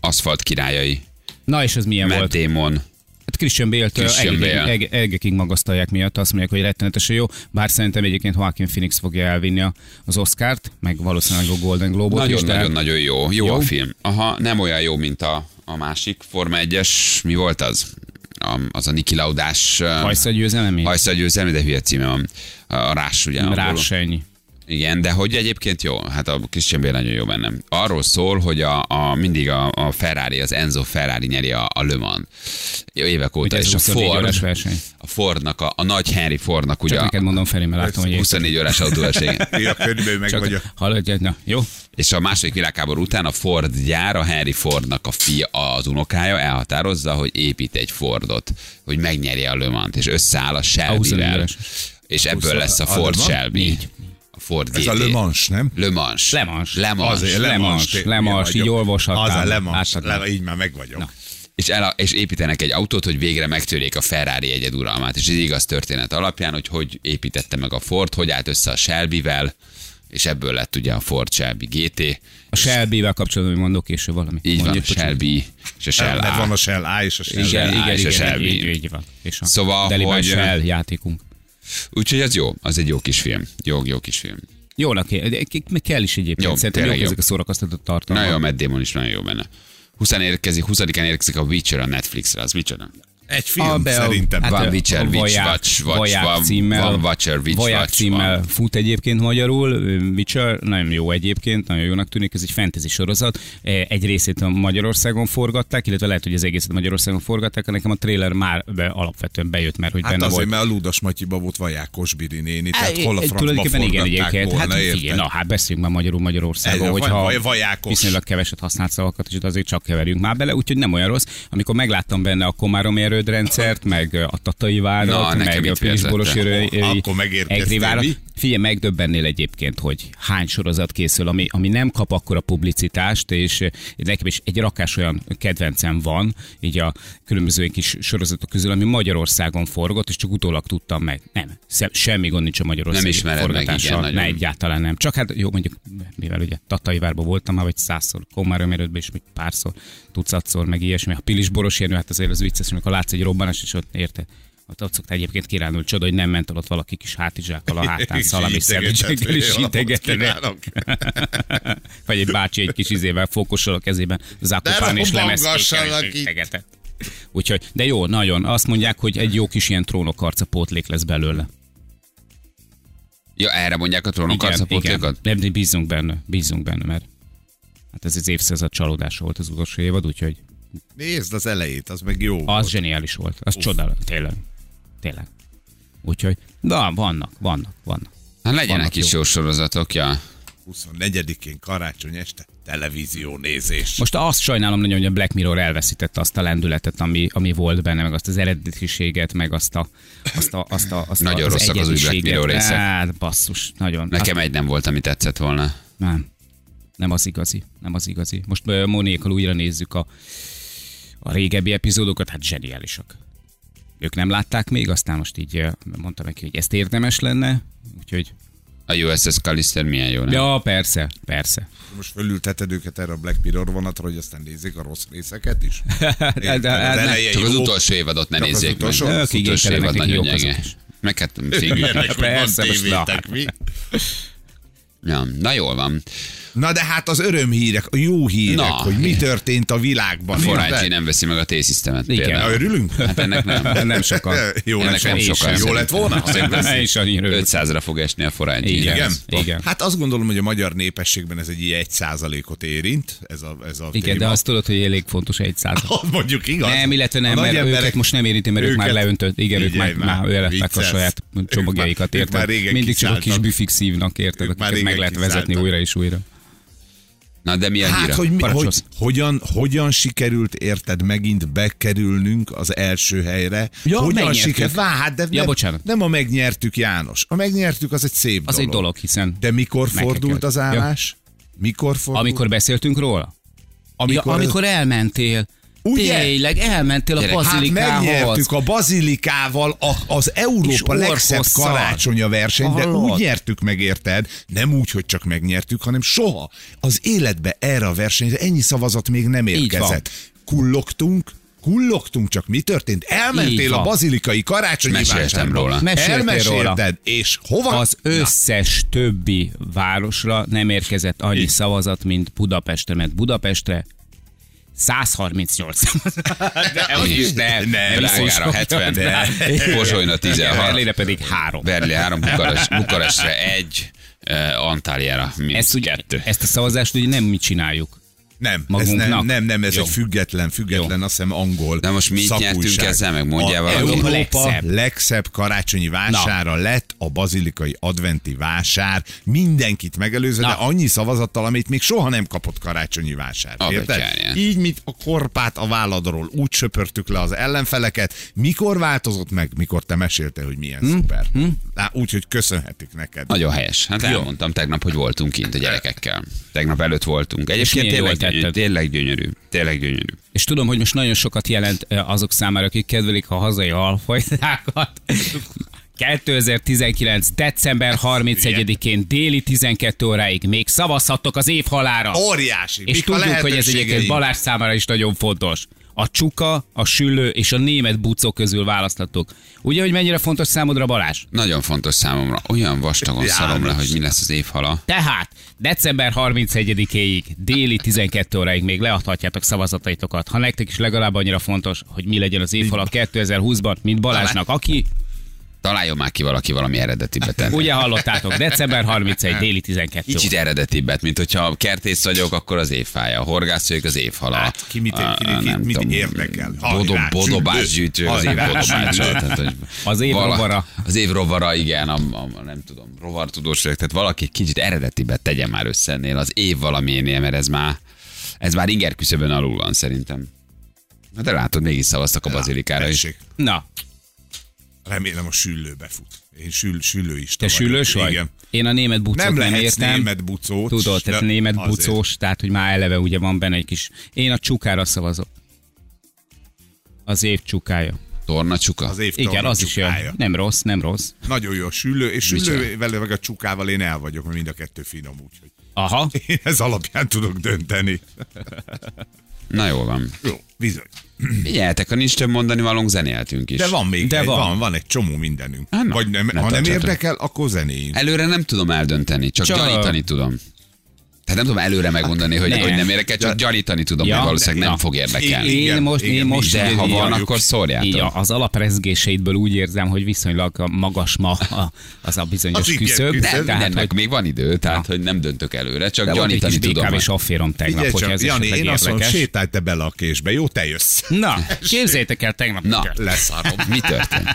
[SPEAKER 2] Aszfalt királyai,
[SPEAKER 4] Na és ez milyen
[SPEAKER 2] Matt
[SPEAKER 4] volt?
[SPEAKER 2] Damon.
[SPEAKER 4] Hát Christian Bale-t
[SPEAKER 2] Christian
[SPEAKER 4] egekig-
[SPEAKER 2] Bale.
[SPEAKER 4] ege- egekig magasztalják miatt, azt mondják, hogy rettenetesen jó, bár szerintem egyébként Joaquin Phoenix fogja elvinni a- az Oscar-t, meg valószínűleg a Golden Globe-ot is. de-
[SPEAKER 2] Nagyon-nagyon-nagyon jó. jó. Jó a film. Aha, nem olyan jó, mint a, a másik Forma 1-es. Mi volt az? A, az a Niki Laudás... ö,
[SPEAKER 4] Hajsza győzelemi?
[SPEAKER 2] Hajsza győzelmi, de hülye címe van. A Rás, ugye? angolul.
[SPEAKER 4] Rás ennyi.
[SPEAKER 2] Igen, de hogy egyébként jó, hát a Christian Bale nagyon jó bennem. Arról szól, hogy a, a mindig a, a Ferrari, az Enzo Ferrari nyeri a, a Le Mans. Évek óta,
[SPEAKER 4] Ugye ez
[SPEAKER 2] és a
[SPEAKER 4] 24
[SPEAKER 2] Ford,
[SPEAKER 4] órás verseny.
[SPEAKER 2] a Fordnak, a, a nagy Henry Fordnak ugye
[SPEAKER 4] Csak
[SPEAKER 2] a
[SPEAKER 4] neked mondom felé, mert látom, hogy
[SPEAKER 2] 24 órás
[SPEAKER 4] [LAUGHS]
[SPEAKER 2] autóverseny.
[SPEAKER 3] Én a könyvből meg vagyok.
[SPEAKER 4] csak haladjad, na jó.
[SPEAKER 2] És a második világháború után a Ford gyár, a Henry Fordnak a fia, az unokája elhatározza, hogy épít egy Fordot, hogy megnyerje a Le Mans-t, és összeáll a
[SPEAKER 4] 24
[SPEAKER 2] Shelby-vel.
[SPEAKER 4] órás.
[SPEAKER 2] És ebből
[SPEAKER 3] Húsz-
[SPEAKER 2] lesz a
[SPEAKER 3] a
[SPEAKER 2] Ford
[SPEAKER 3] Le Mans?
[SPEAKER 2] Shelby. A Ford GT.
[SPEAKER 3] Ez a Le Mans, nem?
[SPEAKER 2] Le Mans.
[SPEAKER 4] Le Mans.
[SPEAKER 2] Le Mans.
[SPEAKER 3] Azért, Le
[SPEAKER 4] Lemans,
[SPEAKER 3] Mans, té-
[SPEAKER 4] Lemans,
[SPEAKER 3] mi vagyok.
[SPEAKER 4] így olvashattál.
[SPEAKER 3] Az a Le Mans,
[SPEAKER 4] Láttad
[SPEAKER 3] Le-
[SPEAKER 4] már.
[SPEAKER 3] így már meg vagyok.
[SPEAKER 2] és, el, és építenek egy autót, hogy végre megtörjék a Ferrari egyeduralmát. És ez igaz történet alapján, hogy hogy építette meg a Ford, hogy állt össze a Shelby-vel, és ebből lett ugye a Ford Shelby GT.
[SPEAKER 4] A Shelby-vel kapcsolatban mondok később valami.
[SPEAKER 2] Így van, a Shelby és a Shell
[SPEAKER 3] Mert
[SPEAKER 2] A.
[SPEAKER 3] van a Shell A és a Shell
[SPEAKER 2] Igen.
[SPEAKER 3] B.
[SPEAKER 2] Shell A és a Shell B.
[SPEAKER 4] így, így van. És a
[SPEAKER 2] Szóval,
[SPEAKER 4] Deli
[SPEAKER 2] hogy-
[SPEAKER 4] hogy... Shell játékunk.
[SPEAKER 2] Úgyhogy az jó, az egy jó kis film. Jó, jó kis film.
[SPEAKER 4] Jónak é- de k- meg kell is egyébként.
[SPEAKER 2] Jó,
[SPEAKER 4] Jó, Szerintem
[SPEAKER 2] tényleg
[SPEAKER 4] jók
[SPEAKER 2] jó.
[SPEAKER 4] ezek a szórakoztató
[SPEAKER 2] Nagyon jó, a
[SPEAKER 4] tartalmak.
[SPEAKER 2] Matt Damon is nagyon jó benne. 20 érkezik, 20-án érkezik a Witcher a Netflixre, az micsoda?
[SPEAKER 3] Egy film szerintem.
[SPEAKER 2] hát-
[SPEAKER 3] Hát,
[SPEAKER 2] Van Witcher,
[SPEAKER 4] a
[SPEAKER 2] Witch,
[SPEAKER 4] Vaják-
[SPEAKER 2] Watch, Watch,
[SPEAKER 4] Vaják
[SPEAKER 2] van-
[SPEAKER 4] címmel,
[SPEAKER 2] van Watcher, Witch,
[SPEAKER 4] Vaják
[SPEAKER 2] Watch,
[SPEAKER 4] címmel
[SPEAKER 2] van.
[SPEAKER 4] fut egyébként magyarul, Witcher nagyon jó egyébként, nagyon jónak tűnik, ez egy fantasy sorozat. E, Egy részét a Magyarországon forgatták, illetve lehet, hogy az egészet Magyarországon forgatták, nekem a trailer már be, alapvetően bejött, mert hogy
[SPEAKER 3] hát
[SPEAKER 4] benne
[SPEAKER 3] azért,
[SPEAKER 4] volt.
[SPEAKER 3] mert a Ludas Matyiba volt Vajákos Biri néni,
[SPEAKER 4] Hát,
[SPEAKER 3] tehát hol a
[SPEAKER 4] egy-
[SPEAKER 3] francba
[SPEAKER 4] igen,
[SPEAKER 3] forgatták
[SPEAKER 4] egyébként.
[SPEAKER 3] volna,
[SPEAKER 4] Hát
[SPEAKER 3] érted?
[SPEAKER 4] figyelj, na hát beszéljünk már magyarul Magyarországon,
[SPEAKER 3] Egy-
[SPEAKER 4] hogy
[SPEAKER 3] vaj-
[SPEAKER 4] ha
[SPEAKER 3] vaj- vajákos.
[SPEAKER 4] viszonylag keveset használt szavakat, és azért csak keverjünk már bele, úgyhogy nem olyan rossz. Amikor megláttam benne a Komárom erődrendszert, meg a Tatai
[SPEAKER 2] Na,
[SPEAKER 4] várat,
[SPEAKER 2] nekem
[SPEAKER 4] meg
[SPEAKER 2] itt
[SPEAKER 4] a Pilisboros
[SPEAKER 2] vérzette.
[SPEAKER 4] erő-
[SPEAKER 3] Oh, akkor megérkeztél,
[SPEAKER 4] Egri várat.
[SPEAKER 3] mi?
[SPEAKER 4] Figyelj, megdöbbennél egyébként, hogy hány sorozat készül, ami, ami nem kap akkora publicitást, és nekem is egy rakás olyan kedvencem van, így a különböző ilyen kis sorozatok közül, ami Magyarországon forgott, és csak utólag tudtam meg. Nem, szem- semmi gond nincs a Magyarországon
[SPEAKER 2] Nem ismered meg, igen,
[SPEAKER 4] forgatással.
[SPEAKER 2] nagyon.
[SPEAKER 4] Ne, egyáltalán nem. Csak hát jó, mondjuk, mivel ugye Tataivárban voltam már, vagy százszor, Komárom erődben is, még párszor, tucatszor, meg ilyesmi. A Pilis Boros Jenő, hát azért az vicces, amikor látsz egy robbanás, és ott érted. Ott, ott szokta egyébként kirándulni csoda, hogy nem ment el ott valaki kis hátizsákkal a hátán,
[SPEAKER 3] [LAUGHS] És
[SPEAKER 4] szalami
[SPEAKER 3] integetett,
[SPEAKER 4] szendvicsekkel is
[SPEAKER 3] [LAUGHS] hogy jó napot
[SPEAKER 4] integetett.
[SPEAKER 3] kívánok.
[SPEAKER 4] [LAUGHS] Vagy egy bácsi egy kis izével, fókussal a kezében, zakopán és lemezkékkel
[SPEAKER 3] robbangassanak
[SPEAKER 4] is
[SPEAKER 3] itt.
[SPEAKER 4] integetett. Úgyhogy, de jó, nagyon. Azt mondják, hogy egy jó kis ilyen trónokarca pótlék lesz belőle.
[SPEAKER 2] Ja, erre mondják a trónok
[SPEAKER 4] Igen,
[SPEAKER 2] arcapotlékat?
[SPEAKER 4] igen. Nem, bízunk benne, bízunk benne, mert hát ez az évszázad csalódása volt az utolsó évad, úgyhogy
[SPEAKER 3] Nézd az elejét, az meg jó.
[SPEAKER 4] az zseniális volt, az csodálatos, tényleg, tényleg. Úgyhogy, na, vannak, vannak, vannak.
[SPEAKER 2] Hát legyenek
[SPEAKER 4] Vannak
[SPEAKER 2] is jó sorozatok, ja.
[SPEAKER 3] 24-én karácsony este televízió nézés.
[SPEAKER 4] Most azt sajnálom nagyon, hogy a Black Mirror elveszítette azt a lendületet, ami, ami volt benne, meg azt az eredetiséget, meg azt a... Azt a, azt a azt
[SPEAKER 2] Nagyon
[SPEAKER 4] az
[SPEAKER 2] rosszak az új Black
[SPEAKER 4] egyediséget.
[SPEAKER 2] Mirror részek.
[SPEAKER 4] Hát, basszus, nagyon.
[SPEAKER 2] Nekem egy nem volt, ami tetszett volna.
[SPEAKER 4] Nem. Nem az igazi. Nem az igazi. Most ö, Monékkal újra nézzük a, a régebbi epizódokat, hát zseniálisak. Ők nem látták még, aztán most így ö, mondtam neki, hogy ezt érdemes lenne, úgyhogy...
[SPEAKER 2] A USS Callister milyen jó, nem?
[SPEAKER 4] Ja, persze, persze.
[SPEAKER 3] Most fölülteted őket erre a Black Mirror vonatra, hogy aztán nézzék a rossz részeket
[SPEAKER 4] [LAUGHS]
[SPEAKER 3] is.
[SPEAKER 4] Hát, de- de-
[SPEAKER 3] az
[SPEAKER 4] nem,
[SPEAKER 3] eleje
[SPEAKER 2] Csak
[SPEAKER 3] jó.
[SPEAKER 2] az utolsó évadot ne
[SPEAKER 3] Csak az
[SPEAKER 2] nézzék meg.
[SPEAKER 3] utolsó?
[SPEAKER 4] Ők
[SPEAKER 2] Az utolsó
[SPEAKER 4] igénytelenek,
[SPEAKER 2] évad
[SPEAKER 4] nekik
[SPEAKER 2] nagyon
[SPEAKER 4] jók azok
[SPEAKER 2] gyenge.
[SPEAKER 4] is.
[SPEAKER 2] Meg hát szégyeljük.
[SPEAKER 4] [LAUGHS]
[SPEAKER 3] Ilyenek, hogy van
[SPEAKER 4] Persze, most na,
[SPEAKER 3] tévétek,
[SPEAKER 4] hát.
[SPEAKER 3] mi?
[SPEAKER 2] Ja, na jól van.
[SPEAKER 3] Na de hát az örömhírek, a jó hírek,
[SPEAKER 2] Na.
[SPEAKER 3] hogy mi történt a világban.
[SPEAKER 2] Forágyi
[SPEAKER 3] érted?
[SPEAKER 2] nem veszi meg a T-Systemet
[SPEAKER 4] Igen.
[SPEAKER 3] Na,
[SPEAKER 2] például.
[SPEAKER 3] Örülünk?
[SPEAKER 2] Hát ennek nem.
[SPEAKER 4] Nem sokan.
[SPEAKER 3] [LAUGHS] Jó
[SPEAKER 2] Ennek
[SPEAKER 3] lett
[SPEAKER 2] nem
[SPEAKER 3] volna.
[SPEAKER 2] sokan
[SPEAKER 3] Jó lett
[SPEAKER 2] szerintem.
[SPEAKER 3] volna.
[SPEAKER 2] Szerintem
[SPEAKER 4] Ne is annyira [LAUGHS] örülök.
[SPEAKER 2] 500-ra fog esni a foránygyíj.
[SPEAKER 4] Igen.
[SPEAKER 3] Igen.
[SPEAKER 4] Igen.
[SPEAKER 3] Hát azt gondolom, hogy a magyar népességben ez egy ilyen 1%-ot érint, ez a, ez a
[SPEAKER 4] Igen,
[SPEAKER 3] téma.
[SPEAKER 4] de azt tudod, hogy elég fontos egy százalék.
[SPEAKER 3] Az [LAUGHS] mondjuk igaz.
[SPEAKER 4] Nem, illetve nem,
[SPEAKER 3] A
[SPEAKER 4] mert
[SPEAKER 3] nagy
[SPEAKER 4] őket most nem érinti, mert ők, már leöntött, igen, ők
[SPEAKER 3] Figyelj
[SPEAKER 4] már, már elvettek a
[SPEAKER 3] vicces.
[SPEAKER 4] saját
[SPEAKER 3] Ők már-
[SPEAKER 4] csomagjaikat,
[SPEAKER 3] ők
[SPEAKER 4] érted?
[SPEAKER 3] már régen
[SPEAKER 4] Mindig csak a kis
[SPEAKER 3] kiszálltak.
[SPEAKER 4] büfik szívnak, érted?
[SPEAKER 3] Ők már
[SPEAKER 4] Akiket meg
[SPEAKER 3] régen
[SPEAKER 4] lehet vezetni
[SPEAKER 3] kiszálltak.
[SPEAKER 4] újra és újra.
[SPEAKER 2] Na, de mi a
[SPEAKER 3] Hát,
[SPEAKER 2] híra?
[SPEAKER 3] hogy, mi, hogy
[SPEAKER 4] Parancsolsz.
[SPEAKER 3] hogyan, hogyan sikerült, érted, megint bekerülnünk az első helyre?
[SPEAKER 4] Ja,
[SPEAKER 3] hogyan
[SPEAKER 4] megnyertük.
[SPEAKER 3] sikerült? Vá, hát de
[SPEAKER 4] Ja,
[SPEAKER 3] nem,
[SPEAKER 4] bocsánat.
[SPEAKER 3] nem a megnyertük, János. A megnyertük az egy szép
[SPEAKER 4] Az
[SPEAKER 3] dolog.
[SPEAKER 4] egy dolog, hiszen...
[SPEAKER 3] De mikor
[SPEAKER 4] meg kell
[SPEAKER 3] fordult
[SPEAKER 4] kell-
[SPEAKER 3] az állás? Mikor fordult?
[SPEAKER 4] Amikor beszéltünk róla? Amikor, ja,
[SPEAKER 3] Amikor-
[SPEAKER 4] amikor elmentél.
[SPEAKER 3] Ugye?
[SPEAKER 4] Tényleg, elmentél a
[SPEAKER 2] Gyerek, hát
[SPEAKER 3] Hát
[SPEAKER 4] bazilikához.
[SPEAKER 3] megnyertük a bazilikával a, az
[SPEAKER 4] És
[SPEAKER 3] Európa legszebb
[SPEAKER 4] orkosszal.
[SPEAKER 3] karácsonya versenyt, de
[SPEAKER 4] Hallod?
[SPEAKER 3] úgy nyertük meg, érted? Nem úgy, hogy csak megnyertük, hanem soha. Az életbe erre a versenyre ennyi szavazat még nem
[SPEAKER 4] van.
[SPEAKER 3] érkezett. Kullogtunk, kullogtunk, csak mi történt?
[SPEAKER 4] Így
[SPEAKER 3] Elmentél
[SPEAKER 4] van.
[SPEAKER 3] a bazilikai karácsonyi
[SPEAKER 2] Meséltem
[SPEAKER 3] vásárba.
[SPEAKER 2] róla.
[SPEAKER 4] Meséltél róla.
[SPEAKER 3] Elmesélted, és hova?
[SPEAKER 4] Az összes többi városra nem érkezett annyi
[SPEAKER 3] Így.
[SPEAKER 4] szavazat, mint Budapestre, mert Budapestre 138
[SPEAKER 3] [LAUGHS]
[SPEAKER 4] szavazat. De az is nem.
[SPEAKER 3] Nem,
[SPEAKER 2] Drágára 70, Pozsonyra 16,
[SPEAKER 4] Berlinre pedig három.
[SPEAKER 2] Berli 3, Bukarest, Bukarestre 1, Antáliára
[SPEAKER 4] Ezt,
[SPEAKER 2] mínusz
[SPEAKER 4] ugye,
[SPEAKER 2] 2.
[SPEAKER 4] ezt a szavazást ugye nem mi csináljuk.
[SPEAKER 3] Nem, ez
[SPEAKER 4] magunknak.
[SPEAKER 3] nem, nem, nem, ez
[SPEAKER 4] Jó.
[SPEAKER 3] egy független, független, azt hiszem angol
[SPEAKER 2] Na most mit
[SPEAKER 3] szakújság.
[SPEAKER 2] nyertünk ezzel, meg mondjál
[SPEAKER 3] A
[SPEAKER 2] valamit?
[SPEAKER 3] Európa
[SPEAKER 4] Legszebb.
[SPEAKER 3] legszebb. legszebb karácsonyi vására Na. lett a bazilikai adventi vásár, mindenkit megelőzve,
[SPEAKER 4] Na.
[SPEAKER 3] de annyi szavazattal, amit még soha nem kapott karácsonyi vásár.
[SPEAKER 2] A
[SPEAKER 3] Érted?
[SPEAKER 2] betyárján.
[SPEAKER 3] Így, mint a korpát a válladról, úgy söpörtük le az ellenfeleket. Mikor változott meg, mikor te meséltél, hogy milyen szuper? Lá, úgy, hogy köszönhetik neked.
[SPEAKER 2] Nagyon helyes. Hát elmondtam tegnap, hogy voltunk kint a gyerekekkel. Tegnap előtt voltunk. Egyébként
[SPEAKER 4] milyen jól
[SPEAKER 2] tényleg, gyönyörű,
[SPEAKER 4] tetted.
[SPEAKER 2] tényleg gyönyörű. Tényleg gyönyörű.
[SPEAKER 4] És tudom, hogy most nagyon sokat jelent eh, azok számára, akik kedvelik a hazai alfajtákat. 2019. december 31-én déli 12 óráig még szavazhattok az év halára.
[SPEAKER 3] Óriási.
[SPEAKER 4] És
[SPEAKER 3] Mik a
[SPEAKER 4] tudjuk, hogy ez
[SPEAKER 3] lehetőségeid?
[SPEAKER 4] egyébként Balázs számára is nagyon fontos. A csuka, a süllő és a német bucok közül választhatok. Ugye, hogy mennyire fontos számodra Balázs?
[SPEAKER 2] Nagyon fontos számomra. Olyan vastagon
[SPEAKER 3] Ja,
[SPEAKER 2] szarom le,
[SPEAKER 3] most.
[SPEAKER 2] hogy mi lesz az évhala.
[SPEAKER 4] Tehát december 31-éig, déli 12 óráig még leadhatjátok szavazataitokat, ha nektek is legalább annyira fontos, hogy mi legyen az évfalak 2020-ban, mint Balázsnak, aki,
[SPEAKER 2] Találjon már ki valaki valami eredetibbet tenni.
[SPEAKER 4] ugye hallottátok, december 31, déli 12
[SPEAKER 2] Kicsit eredetibbet, mint hogyha kertész vagyok, akkor az évfája, horgász vagyok, az évhala.
[SPEAKER 3] Hát, ki mit-
[SPEAKER 2] A-
[SPEAKER 3] ki-
[SPEAKER 2] a-
[SPEAKER 3] ki-
[SPEAKER 2] nem
[SPEAKER 3] mit
[SPEAKER 2] tudom,
[SPEAKER 3] érdekel?
[SPEAKER 2] Bodo,
[SPEAKER 3] Halirát
[SPEAKER 2] bodobás
[SPEAKER 3] sütő.
[SPEAKER 2] gyűjtő, az év
[SPEAKER 3] Halirát
[SPEAKER 2] bodobás.
[SPEAKER 3] sütő.
[SPEAKER 2] tehát, hogy
[SPEAKER 4] Az év
[SPEAKER 2] vala-
[SPEAKER 4] rovara.
[SPEAKER 2] Az év rovara, igen, a, a, nem tudom, rovartudós vagyok, tehát valaki egy kicsit eredetibbet tegyen már össze ennél az év valamiénél, mert ez már, ez már inger küszöbön alul van szerintem. Na de látod, mégis szavaztak a bazilikára is.
[SPEAKER 3] Tessék,
[SPEAKER 4] Na,
[SPEAKER 3] Remélem a süllő befut. Én sül, süllő is.
[SPEAKER 4] te sülős vagy?
[SPEAKER 3] Igen.
[SPEAKER 4] Én a német bucot
[SPEAKER 3] Nem
[SPEAKER 4] nem,
[SPEAKER 3] lehetsz
[SPEAKER 4] értem.
[SPEAKER 3] német bucóc.
[SPEAKER 4] Tudod, tehát
[SPEAKER 3] de
[SPEAKER 4] német
[SPEAKER 3] azért.
[SPEAKER 4] bucós, tehát hogy már eleve ugye van benne egy kis... Én a csukára szavazok. Az év csukája.
[SPEAKER 2] Torna csuka?
[SPEAKER 3] Az év
[SPEAKER 4] Igen, az is olyan. Nem rossz, nem rossz.
[SPEAKER 3] Nagyon jó a süllő, és
[SPEAKER 2] Micsoda?
[SPEAKER 3] süllővel meg a csukával én el vagyok, mert mind a kettő finom, úgyhogy
[SPEAKER 4] Aha.
[SPEAKER 3] én ez alapján tudok dönteni.
[SPEAKER 2] Na jó van.
[SPEAKER 3] Jó, bizony.
[SPEAKER 2] Figyeljetek, ha nincs több mondani valónk, zenéltünk is.
[SPEAKER 3] De van még,
[SPEAKER 4] De
[SPEAKER 3] egy,
[SPEAKER 4] van.
[SPEAKER 3] van, van egy csomó mindenünk.
[SPEAKER 2] Hát na,
[SPEAKER 3] Vagy nem,
[SPEAKER 2] ne
[SPEAKER 3] ha nem
[SPEAKER 2] tartsatok.
[SPEAKER 3] érdekel, akkor zenéjünk.
[SPEAKER 2] Előre nem tudom eldönteni, csak,
[SPEAKER 4] Csak-
[SPEAKER 2] csak... gyanítani tudom. Tehát nem tudom előre megmondani, hogy
[SPEAKER 4] Nem.
[SPEAKER 2] nem, hogy nem érdekel, csak gyanítani tudom,
[SPEAKER 4] Ja,
[SPEAKER 2] ja, hogy valószínűleg
[SPEAKER 4] de-
[SPEAKER 2] nem
[SPEAKER 4] na.
[SPEAKER 2] fog érdekelni.
[SPEAKER 3] I- i-
[SPEAKER 4] Én
[SPEAKER 3] Igen,
[SPEAKER 4] most, én
[SPEAKER 3] igen,
[SPEAKER 4] most
[SPEAKER 2] De
[SPEAKER 4] így-
[SPEAKER 2] ha
[SPEAKER 4] így-
[SPEAKER 2] van,
[SPEAKER 4] így-
[SPEAKER 2] akkor
[SPEAKER 4] így
[SPEAKER 2] szóljátok.
[SPEAKER 4] a- az alaprezgéseidből úgy érzem, hogy viszonylag a magas ma a, az a bizonyos
[SPEAKER 3] Az igen,
[SPEAKER 4] küszöb.
[SPEAKER 3] küszöb.
[SPEAKER 4] Tehát,
[SPEAKER 2] Mindennek
[SPEAKER 4] hogy
[SPEAKER 2] még van idő, tehát hogy nem döntök előre, csak
[SPEAKER 4] de volt egy kis
[SPEAKER 2] gyanítani tudom.
[SPEAKER 4] DKV safférom tegnap,
[SPEAKER 3] Figyelj
[SPEAKER 4] hogyha
[SPEAKER 3] csak,
[SPEAKER 4] ez
[SPEAKER 3] Jani,
[SPEAKER 4] esetleg
[SPEAKER 3] én azt mondom,
[SPEAKER 4] érdekes.
[SPEAKER 3] sétálj te bele a késbe, jó, te jössz.
[SPEAKER 4] Na,
[SPEAKER 3] [LAUGHS]
[SPEAKER 4] képzeljétek el tegnap.
[SPEAKER 2] Na,
[SPEAKER 4] mit történt.
[SPEAKER 2] leszarom. Mi
[SPEAKER 4] [LAUGHS]
[SPEAKER 2] történt?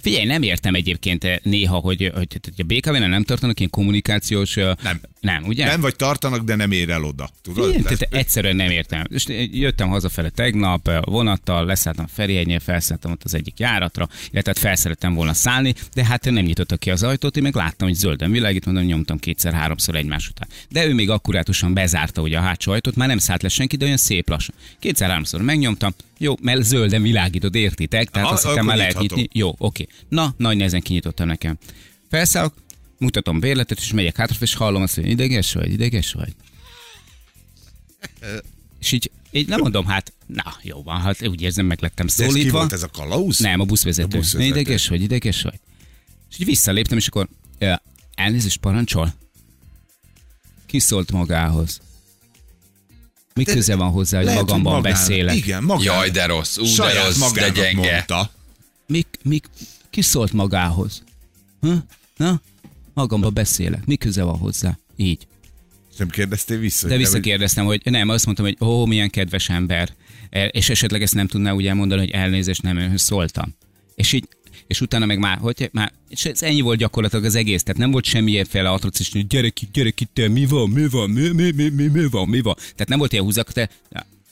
[SPEAKER 4] Figyelj, nem értem egyébként eh, néha, hogy, hogy, hogy a BKV-nál nem tartanak ilyen kommunikációs... eh,
[SPEAKER 3] Nem.
[SPEAKER 4] Nem, ugye?
[SPEAKER 3] Nem vagy tartanak, de nem ér el oda. Tudod?
[SPEAKER 4] Igen,
[SPEAKER 3] Tehát-
[SPEAKER 4] tehát egyszerűen nem értem. És jöttem hazafele tegnap eh, vonattal, leszálltam Ferihegynél, felszálltam ott az egyik járatra, illetve hát felszerettem volna szállni, de hát nem nyitotta ki az ajtót, én meg láttam, hogy zölden világít, mondom, nyomtam kétszer-háromszor egymás után. De ő még akkurátusan bezárta ugye a hátsó ajtót, már nem szállt le senki, de olyan szép lassan. Kétszer-háromszor megnyomtam, jó, mert zölden világítod, értitek? Tehát
[SPEAKER 3] A-
[SPEAKER 4] azt hittem
[SPEAKER 3] akkor
[SPEAKER 4] már lehet
[SPEAKER 3] nyitható.
[SPEAKER 4] nyitni. Jó, oké. Na, nagy nehezen kinyitottam nekem. Felszállok, mutatom bérletet, és megyek hátra, és hallom azt, hogy ideges vagy, ideges vagy. És így, így nem mondom, hát, na jó van, hát úgy érzem, meg lettem
[SPEAKER 3] De ez ki
[SPEAKER 4] szólítva.
[SPEAKER 3] volt ez a kalauz?
[SPEAKER 4] Nem, a buszvezető.
[SPEAKER 3] A buszvezető.
[SPEAKER 4] Ideges vagy, ideges vagy. És így visszaléptem, és akkor "Ö, elnézést parancsol. Kiszólt magához. Mi köze van hozzá, hogy
[SPEAKER 3] Lehet, hogy
[SPEAKER 4] magamban
[SPEAKER 3] magának-
[SPEAKER 4] beszélek?
[SPEAKER 3] Igen, magán.
[SPEAKER 2] Jaj, de rossz, ú, de
[SPEAKER 3] saját
[SPEAKER 2] rossz, de
[SPEAKER 3] magának
[SPEAKER 2] gyenge.
[SPEAKER 3] Mondta.
[SPEAKER 4] Mik, mik, ki szólt magához? Ha? Na? Magamba beszélek. Mi köze van hozzá? Így.
[SPEAKER 3] Nem kérdeztél vissza.
[SPEAKER 4] De
[SPEAKER 3] hogy te
[SPEAKER 4] visszakérdeztem, hogy nem, azt mondtam, hogy ó, milyen kedves ember. E, És esetleg ezt nem tudná úgy elmondani, hogy elnézést nem önhöz szóltam. És így és utána meg már, hogy már, és ez ennyi volt gyakorlatilag az egész, tehát nem volt semmilyenféle atrocitus, hogy gyere ki, gyere ki, te, mi van, mi van, mi, mi, mi, mi, mi van, mi van. Tehát nem volt ilyen húzak, de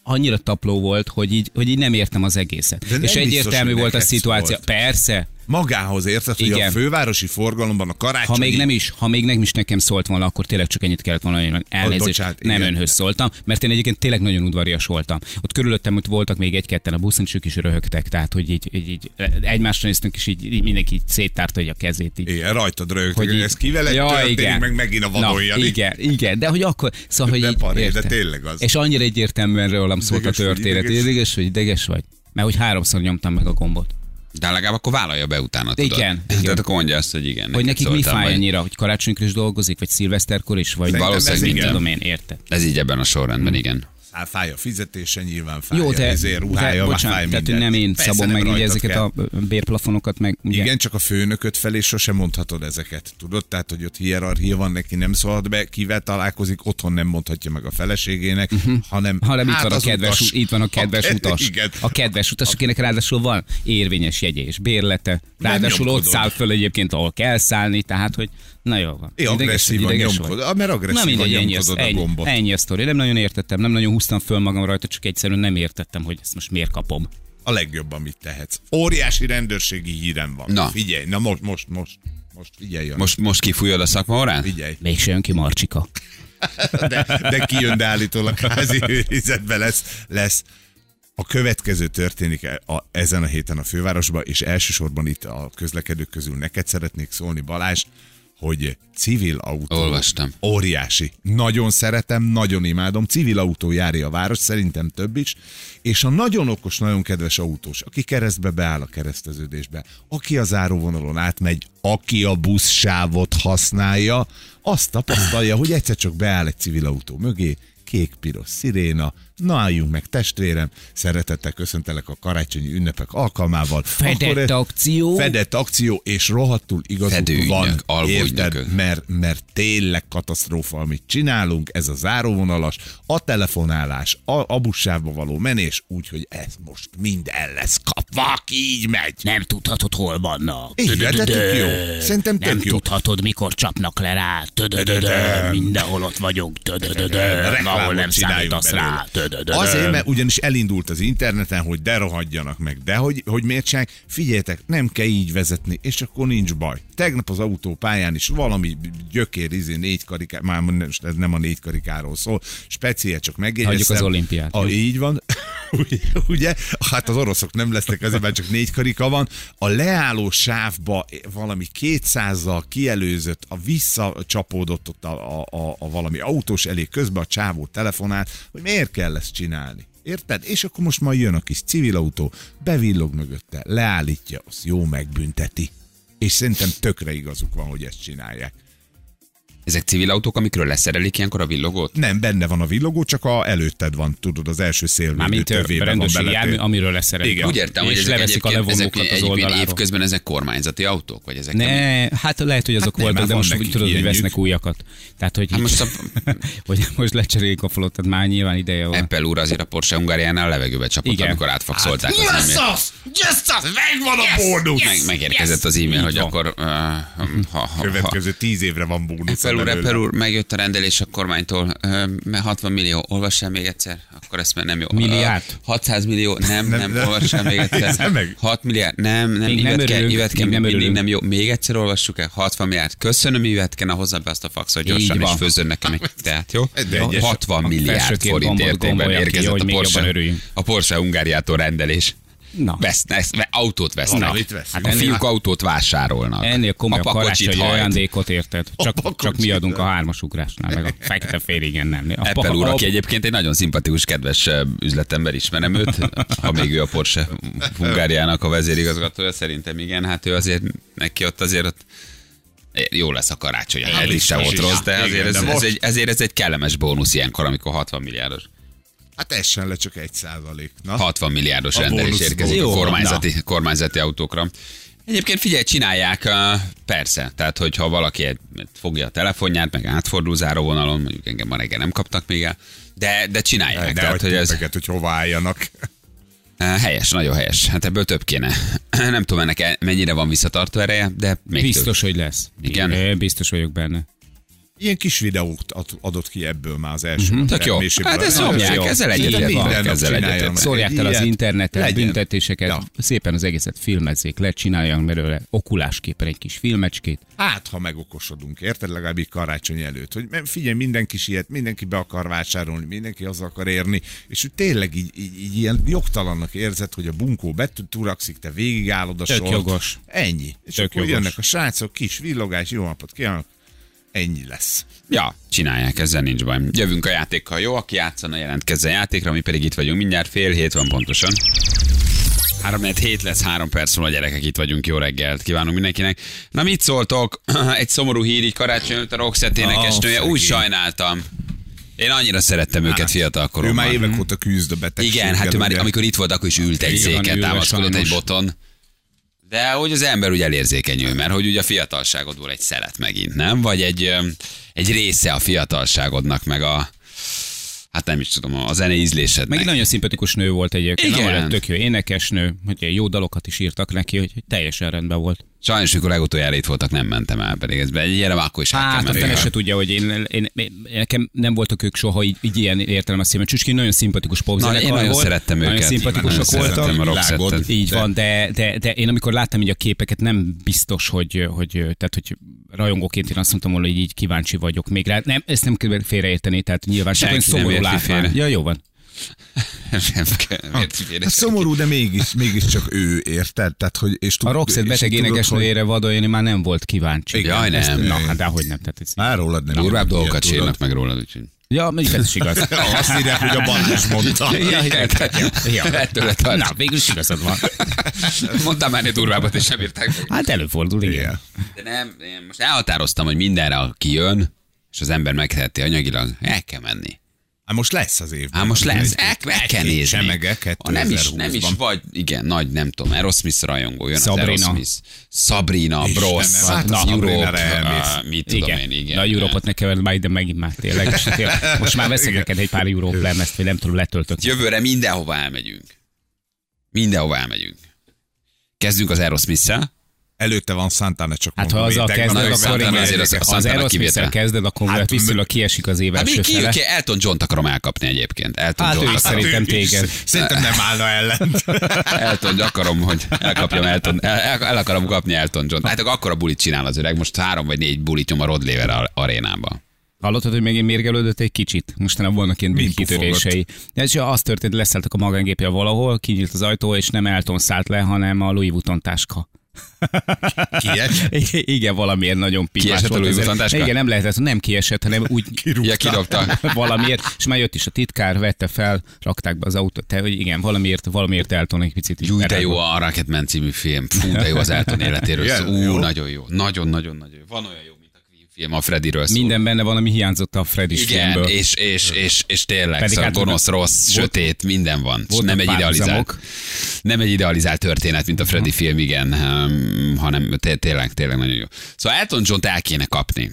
[SPEAKER 4] annyira tapló volt, hogy így, hogy így nem értem az egészet.
[SPEAKER 3] De nem
[SPEAKER 4] és
[SPEAKER 3] biztos,
[SPEAKER 4] egyértelmű
[SPEAKER 3] hogy
[SPEAKER 4] volt a
[SPEAKER 3] neked
[SPEAKER 4] szituáció.
[SPEAKER 3] szólt.
[SPEAKER 4] Persze,
[SPEAKER 3] Magához érted, hogy
[SPEAKER 4] Igen.
[SPEAKER 3] a fővárosi forgalomban a
[SPEAKER 4] ha
[SPEAKER 3] karácsonyi...
[SPEAKER 4] még nem is, ha még nem is nekem szólt volna, akkor tényleg csak ennyit kellett volna mondani, hogy elnézést,
[SPEAKER 3] bocsánat,
[SPEAKER 4] nem
[SPEAKER 3] igen.
[SPEAKER 4] önhöz szóltam, mert én egyébként tényleg nagyon udvarias voltam. Ott körülöttem ott voltak még egy-ketten a buszon, és ők is röhögtek, tehát hogy így, így, így egymásra néztünk, és így, így mindenki így széttárta így a kezét. Így.
[SPEAKER 3] Igen, rajtad rögtön, hogy
[SPEAKER 4] így-
[SPEAKER 3] ez kivel ja, történik, meg megint a vadon
[SPEAKER 4] Na, igen, igen, de hogy akkor, szóval, hogy
[SPEAKER 3] De
[SPEAKER 4] így,
[SPEAKER 3] paré, de
[SPEAKER 4] érted?
[SPEAKER 3] tényleg az.
[SPEAKER 4] És annyira egyértelműen rólam szólt a
[SPEAKER 3] Ideges vagy,
[SPEAKER 4] történet.
[SPEAKER 3] ideges?
[SPEAKER 4] Ideges vagy, ideges vagy? Mert hogy háromszor nyomtam meg a gombot.
[SPEAKER 2] De legalább akkor vállalja be utána, tudod.
[SPEAKER 4] Igen, igen.
[SPEAKER 2] Tehát akkor mondja azt, hogy igen.
[SPEAKER 4] Hogy
[SPEAKER 2] neked
[SPEAKER 4] nekik mi
[SPEAKER 2] szóltam,
[SPEAKER 4] fáj
[SPEAKER 2] vagy-
[SPEAKER 4] annyira, hogy karácsonykor is dolgozik, vagy szilveszterkor is, vagy
[SPEAKER 3] Szerintem
[SPEAKER 4] valószínűleg
[SPEAKER 3] ez
[SPEAKER 4] mit
[SPEAKER 3] igen.
[SPEAKER 4] tudom én, érted?
[SPEAKER 2] Ez így ebben a
[SPEAKER 4] Mm.
[SPEAKER 2] sorrendben, igen.
[SPEAKER 3] Á, Hát fáj a fizetése, nyilván fáj
[SPEAKER 4] Jó, te,
[SPEAKER 3] ezért ruhája,
[SPEAKER 4] te
[SPEAKER 3] már
[SPEAKER 4] bocsánat,
[SPEAKER 3] fáj
[SPEAKER 4] tehát hogy
[SPEAKER 3] minden.
[SPEAKER 4] nem én
[SPEAKER 3] Persze,
[SPEAKER 4] szabom
[SPEAKER 3] nem
[SPEAKER 4] meg így
[SPEAKER 3] rajtad
[SPEAKER 4] ezeket
[SPEAKER 3] kell.
[SPEAKER 4] a bérplafonokat, meg ugye,
[SPEAKER 3] Igen, csak a főnököt felé sose mondhatod ezeket, tudod? Tehát, hogy ott hierarchia van, neki nem szólhat be, kivel találkozik, otthon nem mondhatja meg a feleségének, uh-huh. hanem,
[SPEAKER 4] Mhm. hanem itt, van a
[SPEAKER 3] az
[SPEAKER 4] kedves,
[SPEAKER 3] utas.
[SPEAKER 4] utas. itt van a kedves
[SPEAKER 3] [LAUGHS] ke-
[SPEAKER 4] utas.
[SPEAKER 3] Igen.
[SPEAKER 4] A kedves utas, akinek ráadásul van érvényes jegye és bérlete. Ráadásul ott
[SPEAKER 3] nyomkodod.
[SPEAKER 4] száll föl egyébként, ahol kell szállni, tehát hogy na jó van.
[SPEAKER 3] É, agresszívan
[SPEAKER 4] ideges vagy.
[SPEAKER 3] nyomkod. Ah, Mert
[SPEAKER 4] Na
[SPEAKER 3] agresszívan
[SPEAKER 4] mindegy, ennyi, az,
[SPEAKER 3] nyomkodod a
[SPEAKER 4] ennyi,
[SPEAKER 3] gombot.
[SPEAKER 4] ennyi a sztori. Nem nagyon értettem, nem nagyon húztam föl magam rajta, csak egyszerűen nem értettem, hogy ezt most miért kapom.
[SPEAKER 3] A legjobb, amit tehetsz. Óriási rendőrségi hírem van.
[SPEAKER 2] Na.
[SPEAKER 3] Figyelj, na most, most, most. Most figyelj, Jani.
[SPEAKER 2] Most, most kifújod a szakma orán?
[SPEAKER 3] Figyelj.
[SPEAKER 4] Mégse jön ki Marcsika.
[SPEAKER 3] De, de kijön, de állítólag házi őrizetben lesz, lesz. A A következő történik e, a, a, ezen a héten a fővárosban, és elsősorban itt a közlekedők közül neked szeretnék szólni, Balázs, hogy civil autó.
[SPEAKER 2] Olvastam.
[SPEAKER 3] Óriási. Nagyon szeretem, nagyon imádom. Civil autó járja a város, szerintem több is. És a nagyon okos, nagyon kedves autós, aki keresztbe beáll a kereszteződésbe, aki a záróvonalon átmegy, aki a buszsávot használja, azt tapasztalja, hogy egyszer csak beáll egy civil autó mögé, kék-piros sziréna, na álljunk meg testvérem, szeretettel köszöntelek a karácsonyi ünnepek alkalmával.
[SPEAKER 4] Fedett akció.
[SPEAKER 3] Fedett akció, és rohadtul igazuk
[SPEAKER 2] Fedőügynök,
[SPEAKER 3] van,
[SPEAKER 2] alvóügynök.
[SPEAKER 3] érted? mert, mert tényleg katasztrófa, amit csinálunk, ez a záróvonalas, a telefonálás, a, a buszsávba való menés, úgyhogy ez most mind el lesz kapva, aki így megy.
[SPEAKER 5] Nem tudhatod, hol vannak.
[SPEAKER 3] Igen, de tök
[SPEAKER 5] Dö-dö-dö.
[SPEAKER 3] jó. Szerintem tök
[SPEAKER 5] Nem
[SPEAKER 3] jó.
[SPEAKER 5] tudhatod, mikor csapnak le rá. Tödödödö. Mindenhol ott vagyunk. Tödödödö. Ahol
[SPEAKER 3] Reklámot
[SPEAKER 5] nem
[SPEAKER 3] csináljunk
[SPEAKER 5] számítasz
[SPEAKER 3] belőle.
[SPEAKER 5] rá. Tödödödö.
[SPEAKER 3] Azért, mert ugyanis elindult az interneten, hogy de rohadjanak meg, de hogy, hogy miért csinálják, figyeljetek, nem kell így vezetni, és akkor nincs baj. Tegnap az autópályán is valami gyökér, izé, négy kariká, már most ez nem a négy karikáról szól, speciál csak megjegyeztem.
[SPEAKER 4] Hagyjuk az olimpiát.
[SPEAKER 3] A, így van. [LAUGHS] Ugye- Ugye? Hát az oroszok nem lesznek azért, mert csak négy karika van. A leálló sávba valami 200-zal kielőzött, a visszacsapódott ott a, a, a, a valami autós elé közben a csávó telefonál, hogy miért kell ezt csinálni. Érted? És akkor most majd jön a kis civil autó, bevillog mögötte, leállítja, az jó megbünteti. És szerintem tökre igazuk van, hogy ezt csinálják.
[SPEAKER 2] Ezek civil autók, amikről leszerelik ilyenkor a villogót?
[SPEAKER 3] Nem, benne van a villogó, csak a előtted van, tudod, az első szélvédő
[SPEAKER 4] Mármint ö,
[SPEAKER 3] tövében van
[SPEAKER 4] rendőrségi
[SPEAKER 3] beletéve.
[SPEAKER 4] jármű, amiről leszerelik.
[SPEAKER 3] Igen.
[SPEAKER 2] Úgy értem, hogy
[SPEAKER 4] és
[SPEAKER 2] ezek
[SPEAKER 4] leveszik a
[SPEAKER 2] egyébként, ezek
[SPEAKER 4] levonókat az
[SPEAKER 2] egyébként
[SPEAKER 4] oldaláról.
[SPEAKER 2] évközben ezek kormányzati autók, vagy ezek? amik-
[SPEAKER 4] Ne, hát lehet, hogy azok
[SPEAKER 3] nem,
[SPEAKER 4] hát voltak, de
[SPEAKER 3] hát van
[SPEAKER 4] most úgy
[SPEAKER 3] nekik
[SPEAKER 4] tudod, hogy
[SPEAKER 3] ilyenjük.
[SPEAKER 4] vesznek újakat. Tehát, hogy,
[SPEAKER 2] Hát most a
[SPEAKER 4] [LAUGHS] hogy most lecserélik a flottát, már nyilván ideje van.
[SPEAKER 2] Apple úr azért a Porsche Hungáriánál levegőbe csapott,
[SPEAKER 4] Igen.
[SPEAKER 2] amikor átfakszolták. Hát az
[SPEAKER 3] Hát, Mi
[SPEAKER 2] e-mailt.
[SPEAKER 3] lesz az? Yes, az! Megvan a bónusz!
[SPEAKER 2] Meg, megérkezett az e-mail,
[SPEAKER 4] Így
[SPEAKER 2] hogy
[SPEAKER 4] van.
[SPEAKER 2] akkor uh, ha, ha, ha,
[SPEAKER 3] Következő tíz évre van bónusz.
[SPEAKER 2] Apple úr,
[SPEAKER 3] belőle.
[SPEAKER 2] Apple úr, megjött a rendelés a kormánytól, Ö, mert 60 millió, olvass el még egyszer, akkor ezt már nem jó.
[SPEAKER 4] Milliárd?
[SPEAKER 2] Ö, 600 millió, nem,
[SPEAKER 3] Nem,
[SPEAKER 2] nem,
[SPEAKER 3] nem.
[SPEAKER 2] nem olvass el még egyszer.
[SPEAKER 3] Nézd meg.
[SPEAKER 2] 6 milliárd, nem, nem,
[SPEAKER 4] Még nem
[SPEAKER 2] Ivetke,
[SPEAKER 4] örülünk,
[SPEAKER 2] Ivetke,
[SPEAKER 4] még nem
[SPEAKER 2] mindig
[SPEAKER 4] örülünk.
[SPEAKER 2] nem jó. Még egyszer olvassuk el, 60 milliárd. Köszönöm Ivetke, na hozzá be azt a faxot
[SPEAKER 4] Így
[SPEAKER 2] gyorsan, és
[SPEAKER 4] van.
[SPEAKER 2] főzzön nekem egy teát, jó?
[SPEAKER 3] De egyes-
[SPEAKER 2] 60 milliárd
[SPEAKER 4] felsőként
[SPEAKER 2] forint
[SPEAKER 4] gombot
[SPEAKER 2] értékben
[SPEAKER 4] gombolja ki,
[SPEAKER 2] érkezett
[SPEAKER 4] hogy
[SPEAKER 2] a
[SPEAKER 4] még jobban
[SPEAKER 2] Porsche,
[SPEAKER 4] örüljünk.
[SPEAKER 2] a Porsche Hungáriától rendelés.
[SPEAKER 4] Na.
[SPEAKER 2] Vesz, vesz, ve- autót vesznek.
[SPEAKER 3] Valamit veszünk.
[SPEAKER 2] Hát a fiúk autót vásárolnak.
[SPEAKER 4] Ennél komolyabb
[SPEAKER 2] Apa kocsit
[SPEAKER 4] karácsonyi
[SPEAKER 2] hajt.
[SPEAKER 4] ajándékot érted. Csak,
[SPEAKER 3] pakocsit.
[SPEAKER 4] csak mi adunk a hármas ugrásnál, meg a fekete féligen nem. A
[SPEAKER 2] Apple
[SPEAKER 4] pa-
[SPEAKER 2] úr,
[SPEAKER 4] a-
[SPEAKER 2] aki egyébként egy nagyon szimpatikus, kedves eh, üzletember, ismerem őt, ha még ő a Porsche Hungáriának a vezérigazgatója, szerintem igen, hát ő azért, neki ott azért ott jó lesz a karácsony, hát is se
[SPEAKER 3] biztos
[SPEAKER 2] volt
[SPEAKER 3] is.
[SPEAKER 2] rossz, de
[SPEAKER 3] Igen,
[SPEAKER 2] azért
[SPEAKER 3] de
[SPEAKER 2] ez, ez,
[SPEAKER 3] most-
[SPEAKER 2] egy, ezért ez egy kellemes bónusz ilyenkor, amikor 60 milliárdos,
[SPEAKER 3] Hát essen le csak egy százalék. Na,
[SPEAKER 2] 60 milliárdos
[SPEAKER 3] A
[SPEAKER 2] rendelés
[SPEAKER 3] bónusz
[SPEAKER 2] érkezik
[SPEAKER 3] bónusz.
[SPEAKER 2] a
[SPEAKER 3] Jó,
[SPEAKER 2] kormányzati, kormányzati autókra. Egyébként figyelj, csinálják, eh, persze, tehát hogyha valaki egy- fogja a telefonját, meg átfordul záróvonalon, mondjuk engem ma reggel nem kaptak még el, de, de csinálják.
[SPEAKER 3] ne
[SPEAKER 2] tehát,
[SPEAKER 3] hagyd
[SPEAKER 2] hogy ez,
[SPEAKER 3] tippeket, hogy hova álljanak. [LAUGHS]
[SPEAKER 2] Helyes, nagyon helyes. Hát ebből több kéne. [CLEARS THROAT] Nem tudom ennek el- mennyire van visszatartó ereje, de még
[SPEAKER 4] Biztos, hogy lesz.
[SPEAKER 2] Igen?
[SPEAKER 4] Ö, Biztos vagyok benne.
[SPEAKER 3] Ilyen kis videót ad- adott ki ebből már az első. Mm-hmm.
[SPEAKER 2] Több. Tök jó. Hát ezt nyomják, ezzel egyetértek. Ezzel egyetértek.
[SPEAKER 4] Szórják el az interneten,
[SPEAKER 3] legyen.
[SPEAKER 4] büntetéseket,
[SPEAKER 3] Ja.
[SPEAKER 4] szépen az egészet filmezzék le, csináljak belőle okulásképpen egy kis filmecskét.
[SPEAKER 3] Hát, ha megokosodunk, érted? Legalább így karácsony előtt. Hogy mert figyelj, mindenki siet, mindenki be akar vásárolni, mindenki az akar érni, és úgy tényleg így, így, így ilyen jogtalannak érzed, hogy a bunkó beturakszik, te végigállod a
[SPEAKER 4] Tök
[SPEAKER 3] sort.
[SPEAKER 4] jogos.
[SPEAKER 3] Ennyi. És
[SPEAKER 4] Tök
[SPEAKER 3] akkor
[SPEAKER 4] jogos.
[SPEAKER 3] jönnek a srácok, kis villogás, jó napot kívánok. Ennyi lesz.
[SPEAKER 2] Ja, csinálják, ezzel nincs baj. Jövünk a játékkal, jó? Aki játszana, jelentkezzen a játékra, mi pedig itt vagyunk mindjárt, fél hét van pontosan. 3 hét lesz, három perc múlva gyerekek, itt vagyunk, jó reggelt kívánunk mindenkinek. Na mit szóltok? [CLEARS THROAT] Egy szomorú hír, így karácsony előtt a Roxette énekesnője,
[SPEAKER 3] szegény. Hát,
[SPEAKER 2] úgy sajnáltam. Én annyira szerettem őket fiatal
[SPEAKER 3] Ő
[SPEAKER 2] koromban.
[SPEAKER 3] már évek óta küzd a betegséggel.
[SPEAKER 2] Igen, hát ő már
[SPEAKER 3] ugye?
[SPEAKER 2] amikor itt volt, akkor is ült egy
[SPEAKER 4] Igen,
[SPEAKER 2] széken,
[SPEAKER 4] ülve
[SPEAKER 2] támaszkodott egy
[SPEAKER 4] sajnos.
[SPEAKER 2] boton. De hogy az ember úgy elérzékenyül, mert hogy ugye a fiatalságodból egy szelet megint, nem? Vagy egy, öm, egy része a fiatalságodnak, meg a hát nem is tudom, a zene
[SPEAKER 4] Meg
[SPEAKER 2] ízlésednek.
[SPEAKER 4] egy nagyon szimpatikus nő volt egyébként.
[SPEAKER 2] Igen.
[SPEAKER 4] Igen. Nem, tök jó énekesnő, hogy jó dalokat is írtak neki, hogy hogy teljesen rendben volt.
[SPEAKER 2] Sajnos, mikor legutoljára itt voltak, nem mentem el, pedig ez egy gyere, már akkor is át kell
[SPEAKER 4] Hát, a
[SPEAKER 2] menni.
[SPEAKER 4] fene se tudja, hogy én, én, én, nekem nem voltak ők soha így, így ilyen értelemben szívem. Csücski nagyon szimpatikus
[SPEAKER 2] Na,
[SPEAKER 4] popzenekar
[SPEAKER 2] én nagyon
[SPEAKER 4] volt,
[SPEAKER 2] szerettem őket.
[SPEAKER 4] nagyon szimpatikusak
[SPEAKER 2] Nagyon
[SPEAKER 4] voltak.
[SPEAKER 2] szerettem a
[SPEAKER 3] világot.
[SPEAKER 2] rockszettet.
[SPEAKER 4] Így van, de, de, de én amikor láttam így a képeket, nem biztos, hogy, hogy, tehát, hogy rajongóként én azt mondtam volna, hogy így kíváncsi vagyok még rá. Nem, ezt nem kell félreérteni, tehát nyilván csak
[SPEAKER 2] Senki
[SPEAKER 4] olyan
[SPEAKER 2] nem
[SPEAKER 4] szomorú
[SPEAKER 2] érti
[SPEAKER 4] látvány.
[SPEAKER 2] félre.
[SPEAKER 4] Ja, jó van.
[SPEAKER 2] [LAUGHS] Nem kell, miért
[SPEAKER 4] Hát,
[SPEAKER 2] figyelek?
[SPEAKER 3] Hát Szomorú, de mégis, mégiscsak ő, érted? Tehát, hogy, és tud,
[SPEAKER 4] A Roxette
[SPEAKER 3] és
[SPEAKER 4] beteg
[SPEAKER 3] tudod, hogy-
[SPEAKER 4] énekesnőjére vadolni már nem volt kíváncsi.
[SPEAKER 2] Igen. Jaj, nem.
[SPEAKER 4] Ezt- Na, hát dehogy nem. Tehát ez...
[SPEAKER 3] Már rólad nem.
[SPEAKER 2] Durvább
[SPEAKER 3] tudod,
[SPEAKER 2] dolgokat
[SPEAKER 3] tudod.
[SPEAKER 2] sírnak meg rólad,
[SPEAKER 4] [LAUGHS]
[SPEAKER 2] úgyhogy.
[SPEAKER 4] Ja, mondjuk ez is
[SPEAKER 2] [LAUGHS]
[SPEAKER 4] igaz.
[SPEAKER 3] Azt írják, hogy a Balázs mondta.
[SPEAKER 4] Ja, igen, tehát jó. Ja. hát-
[SPEAKER 2] Ettől le tart.
[SPEAKER 4] Na, végül is igazad van.
[SPEAKER 2] Mondtam már egy durvábbat, és nem írták meg.
[SPEAKER 4] Hát előfordul, igen.
[SPEAKER 3] Igen.
[SPEAKER 2] De nem, én most elhatároztam, hogy mindenre, aki jön, és az ember megteheti anyagilag, el kell menni.
[SPEAKER 3] Hát most lesz az évben.
[SPEAKER 2] Hát most lesz, el, el kell nézni.
[SPEAKER 3] semege
[SPEAKER 2] Ha nem is, nem is
[SPEAKER 3] 2020-ban.
[SPEAKER 2] vagy, igen, nagy, nem tudom, Aerosmith rajongó, jön
[SPEAKER 4] Sabrina.
[SPEAKER 2] az Aerosmith. Sabrina,
[SPEAKER 3] Istenem,
[SPEAKER 2] Bros,
[SPEAKER 3] hát
[SPEAKER 2] na,
[SPEAKER 3] az Sabrina-ra
[SPEAKER 2] Europe,
[SPEAKER 3] elmész.
[SPEAKER 2] ah, mit tudom
[SPEAKER 4] Igen.
[SPEAKER 2] én, igen. Hát.
[SPEAKER 4] Na, a Európot ne keverd már ide megint már tényleg. És tényleg. Most már veszek neked egy pár Európ lemezt, vagy nem tudom, letöltök.
[SPEAKER 2] Jövőre mindenhova elmegyünk. Mindenhova elmegyünk. Kezdünk az Aerosmith-szel.
[SPEAKER 3] Előtte van Santana, csak
[SPEAKER 4] Hát ha
[SPEAKER 3] mondom,
[SPEAKER 4] azzal
[SPEAKER 3] én tegnap-
[SPEAKER 4] kezded,
[SPEAKER 2] nagyon
[SPEAKER 4] akkor
[SPEAKER 2] szántam,
[SPEAKER 4] igen,
[SPEAKER 2] azért az-
[SPEAKER 4] ha az
[SPEAKER 2] szántam a
[SPEAKER 4] Aerosmith-szel
[SPEAKER 2] kivétel.
[SPEAKER 4] kezdőd, akkor
[SPEAKER 3] Hát,
[SPEAKER 4] viszonylag kiesik az év
[SPEAKER 2] Hát még
[SPEAKER 4] első
[SPEAKER 2] ki,
[SPEAKER 4] fele.
[SPEAKER 2] ki, Elton John-t akarom elkapni egyébként. Elton
[SPEAKER 4] Hát ő
[SPEAKER 2] John-t
[SPEAKER 4] is
[SPEAKER 2] akarom.
[SPEAKER 4] szerintem téged.
[SPEAKER 3] Szerintem nem állna
[SPEAKER 4] [LAUGHS]
[SPEAKER 3] ellen.
[SPEAKER 2] Elton, John, akarom, hogy elkapjam Elton, el, el, el akarom kapni Elton John. Hát akkor a bulit csinál az öreg, most három vagy négy bulit nyom a Rod Lever ar- arénába.
[SPEAKER 4] Hallottad, hogy megint mérgelődött egy kicsit? Mostanában vannak ilyen
[SPEAKER 3] Mind
[SPEAKER 4] kitörései. És az történt, leszálltak a magángépje valahol, kinyílt az ajtó, és nem Elton szállt le, hanem a Louis Vuitton táska.
[SPEAKER 3] Kies?
[SPEAKER 4] I- [LAUGHS] Igen, valamiért nagyon pipás
[SPEAKER 2] Kiesett a
[SPEAKER 4] volt
[SPEAKER 2] Louis
[SPEAKER 4] az-
[SPEAKER 2] Vuitton táska?
[SPEAKER 4] Igen, nem lehetett, nem kiesett, hanem úgy
[SPEAKER 2] Ja, kidobta.
[SPEAKER 4] [LAUGHS] valamiért, és már jött is a titkár, vette fel, rakták be az autót, te, hogy igen, valamiért, valamiért Elton egy picit. is
[SPEAKER 2] Jú, de
[SPEAKER 4] erre
[SPEAKER 2] jó
[SPEAKER 4] volt.
[SPEAKER 2] a Rocketman című film. Fú, de jó az Elton életéről.
[SPEAKER 3] Igen,
[SPEAKER 2] szól. Ú,
[SPEAKER 3] jó.
[SPEAKER 2] nagyon jó. Nagyon-nagyon-nagyon jó. Van olyan jó, mint a Queen film, a Freddyről szól.
[SPEAKER 4] Minden benne van, ami hiányzott a Freddy
[SPEAKER 2] Igen,
[SPEAKER 4] filmből.
[SPEAKER 2] és, és, és, és tényleg,
[SPEAKER 4] Pedig
[SPEAKER 2] Pedig szóval
[SPEAKER 4] hát
[SPEAKER 2] gonosz,
[SPEAKER 4] voltak-
[SPEAKER 2] rossz,
[SPEAKER 4] volt-
[SPEAKER 2] sötét, minden van. És
[SPEAKER 4] voltak
[SPEAKER 2] Nem egy idealizált,
[SPEAKER 4] párhuzamok.
[SPEAKER 2] nem egy idealizált történet, mint a Freddy film, igen, um, hanem té- tényleg, tényleg nagyon jó. Szóval Elton John-t el kéne kapni.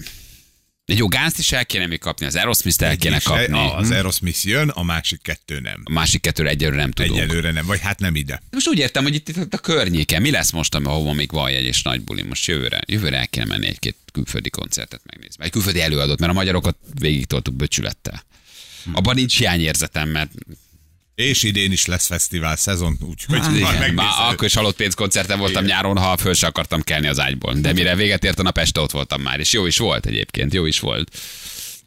[SPEAKER 2] Egy jó gázt is el kéne még kapni, az Aerosmith-t el kéne
[SPEAKER 3] És
[SPEAKER 2] kapni. Hm?
[SPEAKER 4] Hm.
[SPEAKER 3] Az Aerosmith jön, a másik kettő nem.
[SPEAKER 2] A másik kettőre egyelőre nem tudunk.
[SPEAKER 3] Egyelőre nem, vagy hát nem ide.
[SPEAKER 2] Most úgy értem, hogy itt, itt a környéken, mi lesz most, ami- ahova még van egy és nagy buli, most jövőre, jövőre el kéne menni egy-két külföldi koncertet megnézni. Egy külföldi előadót, mert a magyarokat végig toltuk böcsülettel.
[SPEAKER 3] Hm.
[SPEAKER 2] Abban nincs hiányérzetem, mert
[SPEAKER 3] És idén is lesz fesztivál szezon, úgyhogy
[SPEAKER 2] hát,
[SPEAKER 3] majd
[SPEAKER 2] igen, már
[SPEAKER 3] megnézed.
[SPEAKER 2] akkor is halott pénzkoncerten voltam igen. nyáron, ha föl se akartam kelni az ágyból. De mire véget ért a nap, este ott voltam már, és jó is volt egyébként, jó is volt.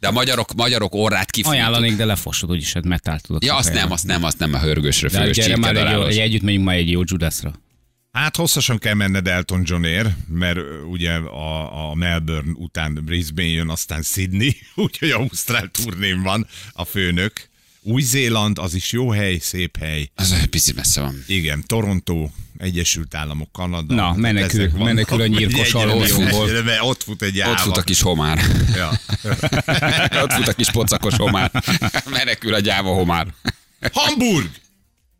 [SPEAKER 2] De a magyarok, magyarok orrát kifújtuk.
[SPEAKER 4] Ajánlanék, de lefosod, úgyis hát metált tudok.
[SPEAKER 2] Ja, azt
[SPEAKER 4] kapni.
[SPEAKER 2] nem, azt nem, azt nem a hörgősről,
[SPEAKER 4] De
[SPEAKER 2] fős
[SPEAKER 4] gyere már egy, jó, egy
[SPEAKER 2] csirkedarálos.
[SPEAKER 4] együtt megyünk már egy jó Judasra.
[SPEAKER 3] Hát hosszasan kell menned Elton Johnért, mert ö, ugye a, a Melbourne után Brisbane jön, aztán Sydney, [LAUGHS] úgyhogy Ausztrál turnén van a főnök. Új-Zéland, az is jó hely, szép hely.
[SPEAKER 2] Az egy pici messze van.
[SPEAKER 3] Igen, Toronto, Egyesült Államok, Kanada.
[SPEAKER 4] Na,
[SPEAKER 3] Tehát
[SPEAKER 4] menekül-
[SPEAKER 3] ezek vannak,
[SPEAKER 4] menekül a
[SPEAKER 3] hogy
[SPEAKER 4] nyírkos
[SPEAKER 3] egyre-
[SPEAKER 4] alójóból.
[SPEAKER 3] egyre- mert Ott fut egy
[SPEAKER 2] Ott fut a kis homár.
[SPEAKER 3] Ja.
[SPEAKER 2] [LAUGHS] Ott fut a kis pocakos homár. [LAUGHS] Menekül a gyáva homár.
[SPEAKER 3] Hamburg!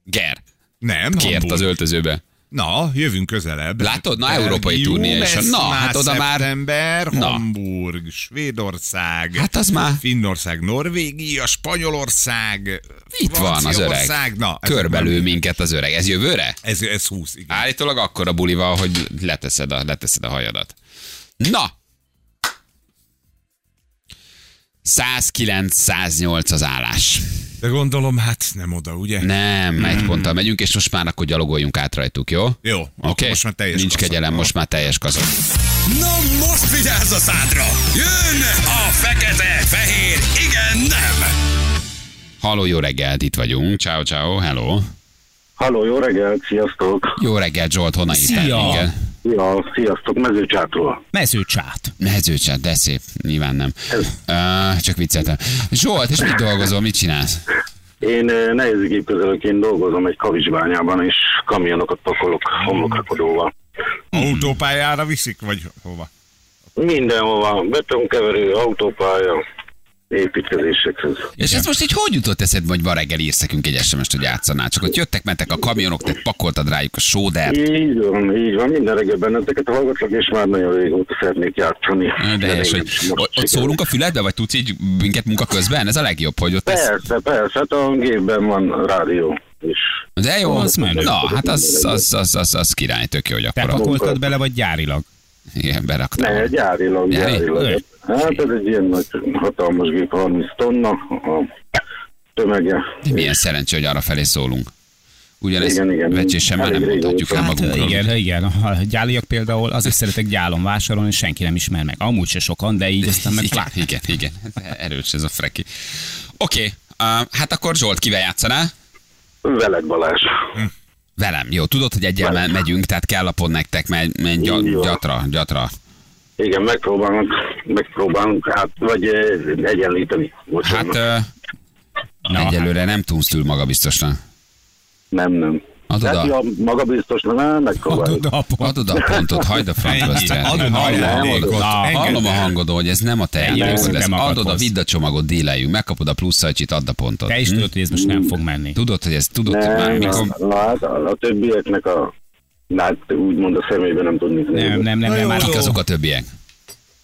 [SPEAKER 2] Ger.
[SPEAKER 3] Nem,
[SPEAKER 2] Kért
[SPEAKER 3] Hamburg.
[SPEAKER 2] az öltözőbe.
[SPEAKER 3] Na, jövünk közelebb.
[SPEAKER 2] Látod? Na, európai
[SPEAKER 3] Belgium,
[SPEAKER 2] turné is.
[SPEAKER 3] ez
[SPEAKER 2] Na, hát oda már-
[SPEAKER 3] Szeptember,
[SPEAKER 2] Na.
[SPEAKER 3] Hamburg, Svédország.
[SPEAKER 2] Hát az már-
[SPEAKER 3] Finnország, Norvégia, Spanyolország.
[SPEAKER 2] Itt van az öreg.
[SPEAKER 3] Franciaország. Na, ez-
[SPEAKER 2] Körbelül minket az öreg. Ez jövőre?
[SPEAKER 3] Ez, ez 20, igen.
[SPEAKER 2] Állítólag akkor a bulival, hogy leteszed a, leteszed a hajadat. Na! 109-108 az állás.
[SPEAKER 3] De gondolom, hát nem oda, ugye?
[SPEAKER 2] Nem,
[SPEAKER 3] Hmm.
[SPEAKER 2] egy ponttal megyünk, és most már akkor gyalogoljunk át rajtuk, jó? Oké?
[SPEAKER 3] Jó, okay. most már teljes
[SPEAKER 2] Nincs
[SPEAKER 3] kaszak.
[SPEAKER 2] kegyelem, most már teljes kaszak.
[SPEAKER 1] Na most vigyázz a szádra! Jön a fekete, fehér, igen, nem!
[SPEAKER 2] Halló, jó reggelt, itt vagyunk. Ciao, ciao, hello.
[SPEAKER 6] Halló, jó reggelt, sziasztok!
[SPEAKER 2] Jó reggelt, Zsolt, honnan
[SPEAKER 4] Szia!
[SPEAKER 2] hívtál minket?
[SPEAKER 6] Ja, sziasztok, mezőcsátról.
[SPEAKER 4] Mezőcsát.
[SPEAKER 2] Mezőcsát, de szép, nyilván nem. Uh, csak vicceltem. Zsolt, és mit dolgozol, mit csinálsz?
[SPEAKER 6] Én eh, nehézgépkezelőként dolgozom egy kavicsbányában, és kamionokat pakolok homlokrakodóval.
[SPEAKER 3] Autópályára viszik, vagy hova?
[SPEAKER 6] Mindenhova, betonkeverő, autópálya, építkezésekhez.
[SPEAKER 2] És ez most így hogy jutott eszedbe, hogy ma reggel írsz nekünk egy SMS-t, hogy játszanál? Csak ott jöttek, mentek a kamionok, te pakoltad rájuk a sódert.
[SPEAKER 6] Így van, így van, minden reggel benneteket hallgatlak, és már nagyon régóta szeretnék játszani.
[SPEAKER 2] De helyes,
[SPEAKER 6] még
[SPEAKER 2] hogy
[SPEAKER 6] most
[SPEAKER 2] ott- ott
[SPEAKER 6] sikerült.
[SPEAKER 2] szólunk a füledbe, vagy tudsz így minket munka közben? Ez a legjobb, hogy ott lesz.
[SPEAKER 6] Persze, persze, hát a gépben van rádió is.
[SPEAKER 2] De jó,
[SPEAKER 4] Az menő.
[SPEAKER 2] Na, hát az, az, az, az, az király, tök jó, hogy
[SPEAKER 4] Te
[SPEAKER 2] akkor a...
[SPEAKER 4] pakoltad bele, vagy gyárilag?
[SPEAKER 2] Igen, beraktam.
[SPEAKER 6] Ne, gyárilag,
[SPEAKER 2] Gyári?
[SPEAKER 6] gyárilag. Hát ez egy ilyen nagy, hatalmas gép, 30 tonna a tömege.
[SPEAKER 2] Milyen szerencsé, hogy arra felé szólunk. Ugyanezt
[SPEAKER 6] Igen, igen.
[SPEAKER 2] vecsésen már nem
[SPEAKER 6] Elég
[SPEAKER 2] mondhatjuk el
[SPEAKER 6] régóta.
[SPEAKER 4] Hát
[SPEAKER 2] magunkról.
[SPEAKER 4] igen, igen. A gyáliak például azért szeretek gyálon vásárolni, és senki nem
[SPEAKER 2] [LAUGHS]
[SPEAKER 4] ismer meg. Amúgy se sokan, de így aztán meg
[SPEAKER 2] igen,
[SPEAKER 4] lát.
[SPEAKER 2] igen, igen. Erős ez a freki. Oké, Uh, hát akkor Zsolt kivel játszanál?
[SPEAKER 6] Veled Balázs.
[SPEAKER 2] Velem. Jó, tudod, hogy egyel me- megyünk, tehát kell lapod nektek, menj, menj
[SPEAKER 6] Így
[SPEAKER 2] gya-
[SPEAKER 6] van.
[SPEAKER 2] gyatra, gyatra.
[SPEAKER 6] Igen, megpróbálunk, megpróbálunk hát, vagy eh, egyenlíteni.
[SPEAKER 2] Hát
[SPEAKER 6] Bocsánat.
[SPEAKER 2] ö,
[SPEAKER 6] Hát,
[SPEAKER 2] egyelőre nem tudsz túl magabiztosnak.
[SPEAKER 6] nem, nem.
[SPEAKER 2] Adod
[SPEAKER 6] Hát,
[SPEAKER 2] a-
[SPEAKER 6] ja, magabiztos, nem, megpróbáljuk.
[SPEAKER 4] Tudom,
[SPEAKER 2] Adod a pontot, hagyd a frankvesztre.
[SPEAKER 3] Adod a ajándékot.
[SPEAKER 2] Hallom a hangod, hogy ez nem a te játékod
[SPEAKER 4] nem
[SPEAKER 2] lesz.
[SPEAKER 4] akart
[SPEAKER 2] Adod a
[SPEAKER 4] hozzá.
[SPEAKER 2] vidd a csomagot, díleljünk, megkapod a plusz szajcsit, add a pontot. Hm?
[SPEAKER 4] Te is tudod, hogy ez most nem fog menni.
[SPEAKER 2] Tudod, hogy ez, tudod, hogy már
[SPEAKER 6] Nem,
[SPEAKER 2] mikor...
[SPEAKER 6] na, na, hát a, a többieknek a... Na, hát úgymond a személyben nem tudni.
[SPEAKER 4] Nem, nem, nem, nem, már
[SPEAKER 2] Kik azok a többiek?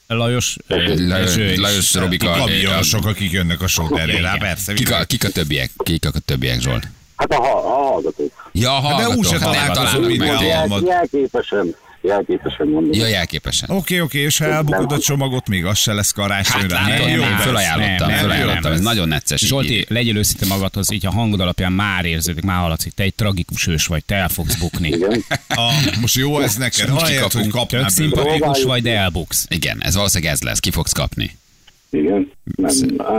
[SPEAKER 4] Lajos,
[SPEAKER 2] Lajos,
[SPEAKER 4] Lajos,
[SPEAKER 2] Lajos Robika, eh,
[SPEAKER 3] Kamionosok, akik jönnek a sóder elé, persze.
[SPEAKER 2] Kik a,
[SPEAKER 3] mindenki.
[SPEAKER 2] kik a többiek? Kik a többiek, Zsolt?
[SPEAKER 6] Hát a, ha- a hallgatók.
[SPEAKER 2] Ja, a hallgatók,
[SPEAKER 3] úgyse
[SPEAKER 2] hát nem
[SPEAKER 3] találkozunk
[SPEAKER 2] találnak meg
[SPEAKER 3] mindenhol.
[SPEAKER 2] téged.
[SPEAKER 3] Amad.
[SPEAKER 6] Jelképesen, jelképesen mondom.
[SPEAKER 2] Ja, jelképesen.
[SPEAKER 3] Oké, oké, és ha elbukod a csomagot, még az se lesz
[SPEAKER 2] Hát
[SPEAKER 3] karácsonyra.
[SPEAKER 2] látod,
[SPEAKER 4] nem,
[SPEAKER 2] én
[SPEAKER 4] nem,
[SPEAKER 2] fölajánlottam,
[SPEAKER 4] nem, nem,
[SPEAKER 2] fölajánlottam,
[SPEAKER 4] nem,
[SPEAKER 2] ez
[SPEAKER 4] nem.
[SPEAKER 2] nagyon necces.
[SPEAKER 4] Zsolti, legyél őszinte magadhoz, így a hangod alapján már érződik, már hallatszik, te egy tragikus hős vagy, te el fogsz bukni.
[SPEAKER 6] Igen.
[SPEAKER 3] Ah, most jó ez neked, ahelyett, hogy
[SPEAKER 2] kikapunk.
[SPEAKER 3] kapnál
[SPEAKER 4] Tök
[SPEAKER 3] bőle.
[SPEAKER 4] szimpatikus vagy, de elbuksz.
[SPEAKER 2] Igen, ez valószínűleg ez lesz, ki fogsz kapni.
[SPEAKER 6] Igen. Nem, á,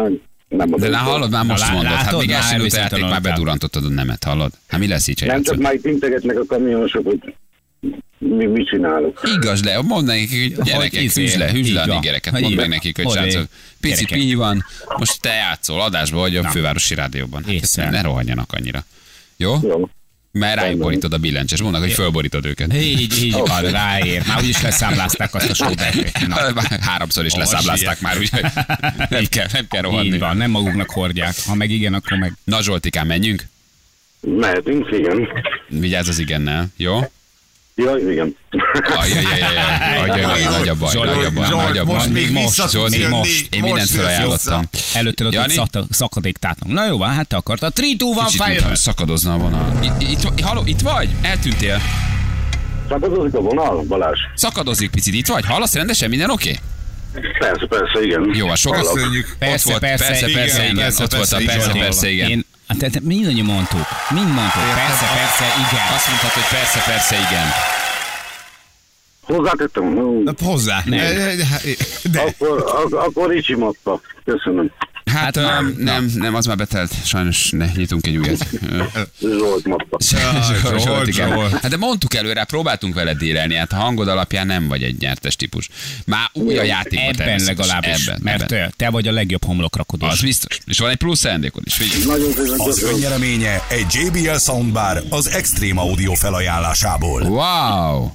[SPEAKER 6] nem
[SPEAKER 2] De
[SPEAKER 6] adom.
[SPEAKER 2] na, hallod, már most
[SPEAKER 4] lá-
[SPEAKER 2] mondod, hát
[SPEAKER 4] látod?
[SPEAKER 2] még
[SPEAKER 4] Már
[SPEAKER 2] el sem jut a
[SPEAKER 4] elviszont
[SPEAKER 2] játék, már
[SPEAKER 4] tanultál.
[SPEAKER 2] bedurantottad a nemet, hallod? Hát mi lesz így, ha
[SPEAKER 6] Nem csak
[SPEAKER 2] játszod?
[SPEAKER 6] már itt integetnek a kamionosok, hogy mi, mit csinálok.
[SPEAKER 2] Igaz le, mondd nekik, hogy gyerekek,
[SPEAKER 4] izé,
[SPEAKER 2] hűzd le, hűzd le a
[SPEAKER 4] így van.
[SPEAKER 2] nigereket,
[SPEAKER 4] Hogy
[SPEAKER 2] mondd meg
[SPEAKER 4] így-
[SPEAKER 2] nekik, hogy
[SPEAKER 4] hogy
[SPEAKER 2] srácok,
[SPEAKER 4] így-
[SPEAKER 2] pici
[SPEAKER 4] gyerekek.
[SPEAKER 2] pihi van, most te játszol, adásba vagy a fővárosi rádióban. Hát ezt
[SPEAKER 4] Észre.
[SPEAKER 2] ne rohanjanak annyira. Jó?
[SPEAKER 6] Jó.
[SPEAKER 2] Mert rájuk borítod a billencses, mondnak, hogy fölborítod őket.
[SPEAKER 4] Így, így van, ráér. Már úgyis leszámlázták azt a sóbert. Na,
[SPEAKER 2] Na, már Háromszor is leszáblázták már,
[SPEAKER 4] [LAUGHS]
[SPEAKER 2] úgyhogy nem kell, nem kell
[SPEAKER 4] így
[SPEAKER 2] rohanni.
[SPEAKER 4] van, nem maguknak hordják. Ha meg igen, akkor meg
[SPEAKER 2] Na Zsoltikám, menjünk.
[SPEAKER 6] Mehetünk, igen.
[SPEAKER 2] Vigyázz az igennel, jó?
[SPEAKER 6] Jaj, igen. [LAUGHS]
[SPEAKER 2] Ajaj, ajaj, ajaj, ajaj, ajaj, nagy a baj,
[SPEAKER 4] Zsolt,
[SPEAKER 2] nagy a baj,
[SPEAKER 3] Zsolt,
[SPEAKER 2] nagy a baj.
[SPEAKER 3] most még vissza
[SPEAKER 2] Zsolt,
[SPEAKER 3] tudsz
[SPEAKER 2] még
[SPEAKER 3] jönni,
[SPEAKER 2] most. Én
[SPEAKER 3] most
[SPEAKER 2] mindent
[SPEAKER 3] jössz
[SPEAKER 2] felajánlottam.
[SPEAKER 4] előtted ott
[SPEAKER 2] Jani?
[SPEAKER 4] egy szata- szakadék tátnak. Na jó, van, hát te akartad. 3, 2, 1,
[SPEAKER 2] Kicsit, mintha
[SPEAKER 4] fire!
[SPEAKER 2] szakadozna a vonal. Itt, itt, halló, itt vagy? Eltűntél?
[SPEAKER 6] Szabadozik a vonal, Balázs?
[SPEAKER 2] Szakadozik picit, itt vagy? Hallasz rendesen? Minden oké? Okay?
[SPEAKER 6] Persze, persze, igen.
[SPEAKER 2] Jó, a sok.
[SPEAKER 3] Köszönjük.
[SPEAKER 2] Ott volt, persze,
[SPEAKER 4] igen,
[SPEAKER 2] persze, igen,
[SPEAKER 3] persze,
[SPEAKER 2] ott volt a
[SPEAKER 3] persze,
[SPEAKER 2] persze,
[SPEAKER 3] igen.
[SPEAKER 2] persze, igen.
[SPEAKER 4] Én, hát te, te mindannyian mondtuk. Mind mondtuk. Persze, persze, igen.
[SPEAKER 2] Azt mondtad, hogy persze, persze, igen.
[SPEAKER 6] Hozzátettem. Hú.
[SPEAKER 3] Na, Hozzá. De, de, de
[SPEAKER 6] Akkor, ak- akkor így simatta. Köszönöm.
[SPEAKER 2] Hát, öm, nem, nem, az már betelt. Sajnos ne, nyitunk egy újat. Ö,
[SPEAKER 3] [LAUGHS]
[SPEAKER 6] Zsolt matta.
[SPEAKER 2] [LAUGHS] Zsolt, Zsolt, igen.
[SPEAKER 3] Zsolt.
[SPEAKER 2] Hát de mondtuk előre, próbáltunk veled délelni, hát a hangod alapján nem vagy egy nyertes típus. Már új a játékban
[SPEAKER 4] Ebben
[SPEAKER 2] természetesen.
[SPEAKER 4] legalábbis,
[SPEAKER 2] Ebben,
[SPEAKER 4] mert
[SPEAKER 2] ebben.
[SPEAKER 4] te- te vagy a legjobb homlokrakodó.
[SPEAKER 2] Az biztos. És van egy plusz ajándékod is, figyelj.
[SPEAKER 6] Nagyon szépen
[SPEAKER 7] Az
[SPEAKER 6] köszönöm.
[SPEAKER 7] önnyereménye egy JBL Soundbar az Extreme Audio felajánlásából.
[SPEAKER 2] Wow!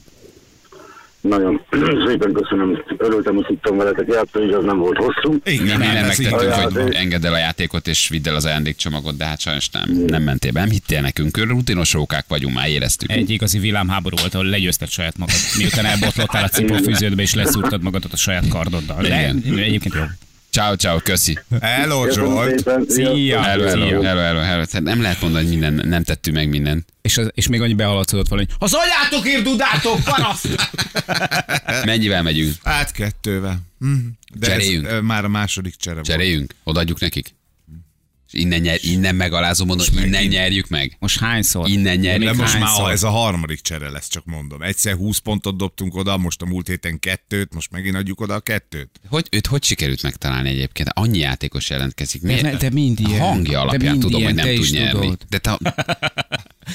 [SPEAKER 6] Nagyon [CLEARS THROAT] szépen köszönöm. Örültem, hogy tudtam veletek játszani, és az nem volt hosszú.
[SPEAKER 2] Mi
[SPEAKER 3] Igen,
[SPEAKER 2] mindent
[SPEAKER 3] ez így
[SPEAKER 2] megtettünk,
[SPEAKER 6] így van.
[SPEAKER 2] hogy engedd el a játékot, és vidd el az ajándékcsomagot, de hát sajnos nem, nem mentél be, nem hittél nekünk, rutinos rókák vagyunk, már éreztük.
[SPEAKER 4] Egy igazi villámháború volt, ahol legyőzted saját magad. Miután elbotlottál a cipőfűződbe, és leszúrtad magadat a saját kardoddal. De
[SPEAKER 2] Igen.
[SPEAKER 4] egyébként jó.
[SPEAKER 2] Ciao, ciao, köszi.
[SPEAKER 3] Hello,
[SPEAKER 6] Köszönöm
[SPEAKER 3] Zsolt.
[SPEAKER 6] szépen.
[SPEAKER 4] Szia!
[SPEAKER 2] Hello, hello,
[SPEAKER 4] Szia.
[SPEAKER 2] hello, hello, hello. Tehát Nem lehet mondani, hogy minden, nem tettünk meg mindent.
[SPEAKER 4] És, az, és még annyi behaladszódott valami, hogy az anyátok ír dudátok, paraszt! Eh.
[SPEAKER 2] Mennyivel megyünk?
[SPEAKER 3] Hát kettővel. Mhm. De
[SPEAKER 2] Cseréljünk.
[SPEAKER 3] ez ö, már a második csere volt.
[SPEAKER 2] Cseréljünk? Odaadjuk nekik? És innen, nyer, innen megalázó mondom, innen nyerjük meg.
[SPEAKER 4] Most hányszor?
[SPEAKER 2] Innen nyerjük
[SPEAKER 3] De
[SPEAKER 2] meg.
[SPEAKER 3] most
[SPEAKER 4] hányszor?
[SPEAKER 3] már ez a harmadik csere lesz, csak mondom. Egyszer 20 pontot dobtunk oda, most a múlt héten kettőt, most megint adjuk oda a kettőt.
[SPEAKER 2] Hogy, őt hogy sikerült megtalálni egyébként? Annyi játékos jelentkezik.
[SPEAKER 4] De,
[SPEAKER 2] Miért?
[SPEAKER 4] ne- de mind
[SPEAKER 2] a
[SPEAKER 4] ilyen.
[SPEAKER 2] hangja
[SPEAKER 4] de
[SPEAKER 2] alapján
[SPEAKER 4] mind
[SPEAKER 2] tudom,
[SPEAKER 4] ilyen,
[SPEAKER 2] hogy nem
[SPEAKER 4] te
[SPEAKER 2] tud
[SPEAKER 4] is
[SPEAKER 2] nyerni.
[SPEAKER 4] Tudod.
[SPEAKER 2] De
[SPEAKER 4] [LAUGHS]
[SPEAKER 2] te,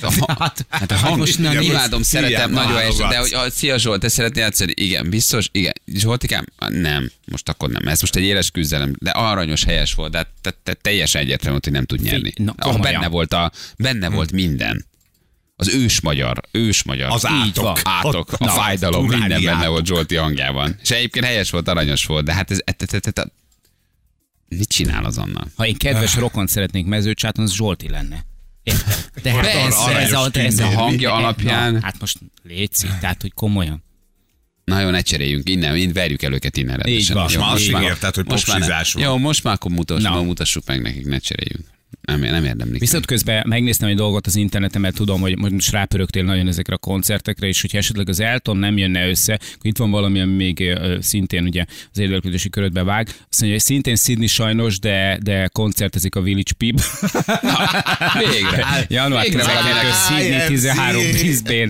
[SPEAKER 2] a, hát, hát a hang, most
[SPEAKER 4] most
[SPEAKER 2] nem
[SPEAKER 4] nem
[SPEAKER 3] is.
[SPEAKER 2] imádom, szeretem,
[SPEAKER 3] Hiába
[SPEAKER 2] nagyon helyes, de
[SPEAKER 3] válogatsz.
[SPEAKER 2] hogy a, szia Zsolt, te szeretnél játszani? Igen, biztos, igen. Zsoltikám? Ah, Nem, most akkor nem. Ez most egy éles küzdelem, de aranyos, helyes volt, de hát te, te, teljesen egyértelmű, volt, hogy nem tud nyerni.
[SPEAKER 4] na,
[SPEAKER 2] Ah,
[SPEAKER 4] komolyan.
[SPEAKER 2] benne volt, a, benne volt minden. Az ős magyar, ős magyar.
[SPEAKER 3] Az átok.
[SPEAKER 2] Van, átok, a
[SPEAKER 3] Na,
[SPEAKER 2] fájdalom,
[SPEAKER 3] uráni
[SPEAKER 2] minden benne
[SPEAKER 3] átok.
[SPEAKER 2] volt Zsolti hangjában. És egyébként helyes volt, aranyos volt, de hát ez... e- e- e- e- Mit csinál az annak?
[SPEAKER 4] Ha én kedves rokon szeretnék mezőcsáton, az Zsolti lenne. Érted? De hát
[SPEAKER 2] Persze,
[SPEAKER 4] ez a, ez
[SPEAKER 2] a
[SPEAKER 4] a
[SPEAKER 2] hangja alapján.
[SPEAKER 4] Na, hát most létszik, tehát hogy komolyan.
[SPEAKER 2] Na jó, ne cseréljünk, innen, innen verjük el őket innen rendesen.
[SPEAKER 4] van.
[SPEAKER 2] Jó,
[SPEAKER 4] Már
[SPEAKER 2] most
[SPEAKER 3] azt
[SPEAKER 2] már-
[SPEAKER 3] ígérted, hogy
[SPEAKER 2] most már ne.
[SPEAKER 3] popsizás van.
[SPEAKER 2] Jó, most már akkor mutass,
[SPEAKER 4] Na.
[SPEAKER 2] ma mutassuk meg nekik, ne cseréljünk. nem, nem érdemlik.
[SPEAKER 4] Viszont közben megnéztem egy dolgot az interneten, mert tudom, hogy most rápörögtél nagyon ezekre a koncertekre, és hogyha esetleg az Elton nem jönne össze, akkor itt van valami, ami még ö, szintén ugye az érdeklődési körödbe vág. Azt mondja, hogy szintén Sydney sajnos, de, de koncertezik a Village Pib.
[SPEAKER 2] [LAUGHS] Végre.
[SPEAKER 4] [LAUGHS] Január
[SPEAKER 2] Végre
[SPEAKER 4] 12
[SPEAKER 2] valami-
[SPEAKER 4] Sydney 13 Brisbane.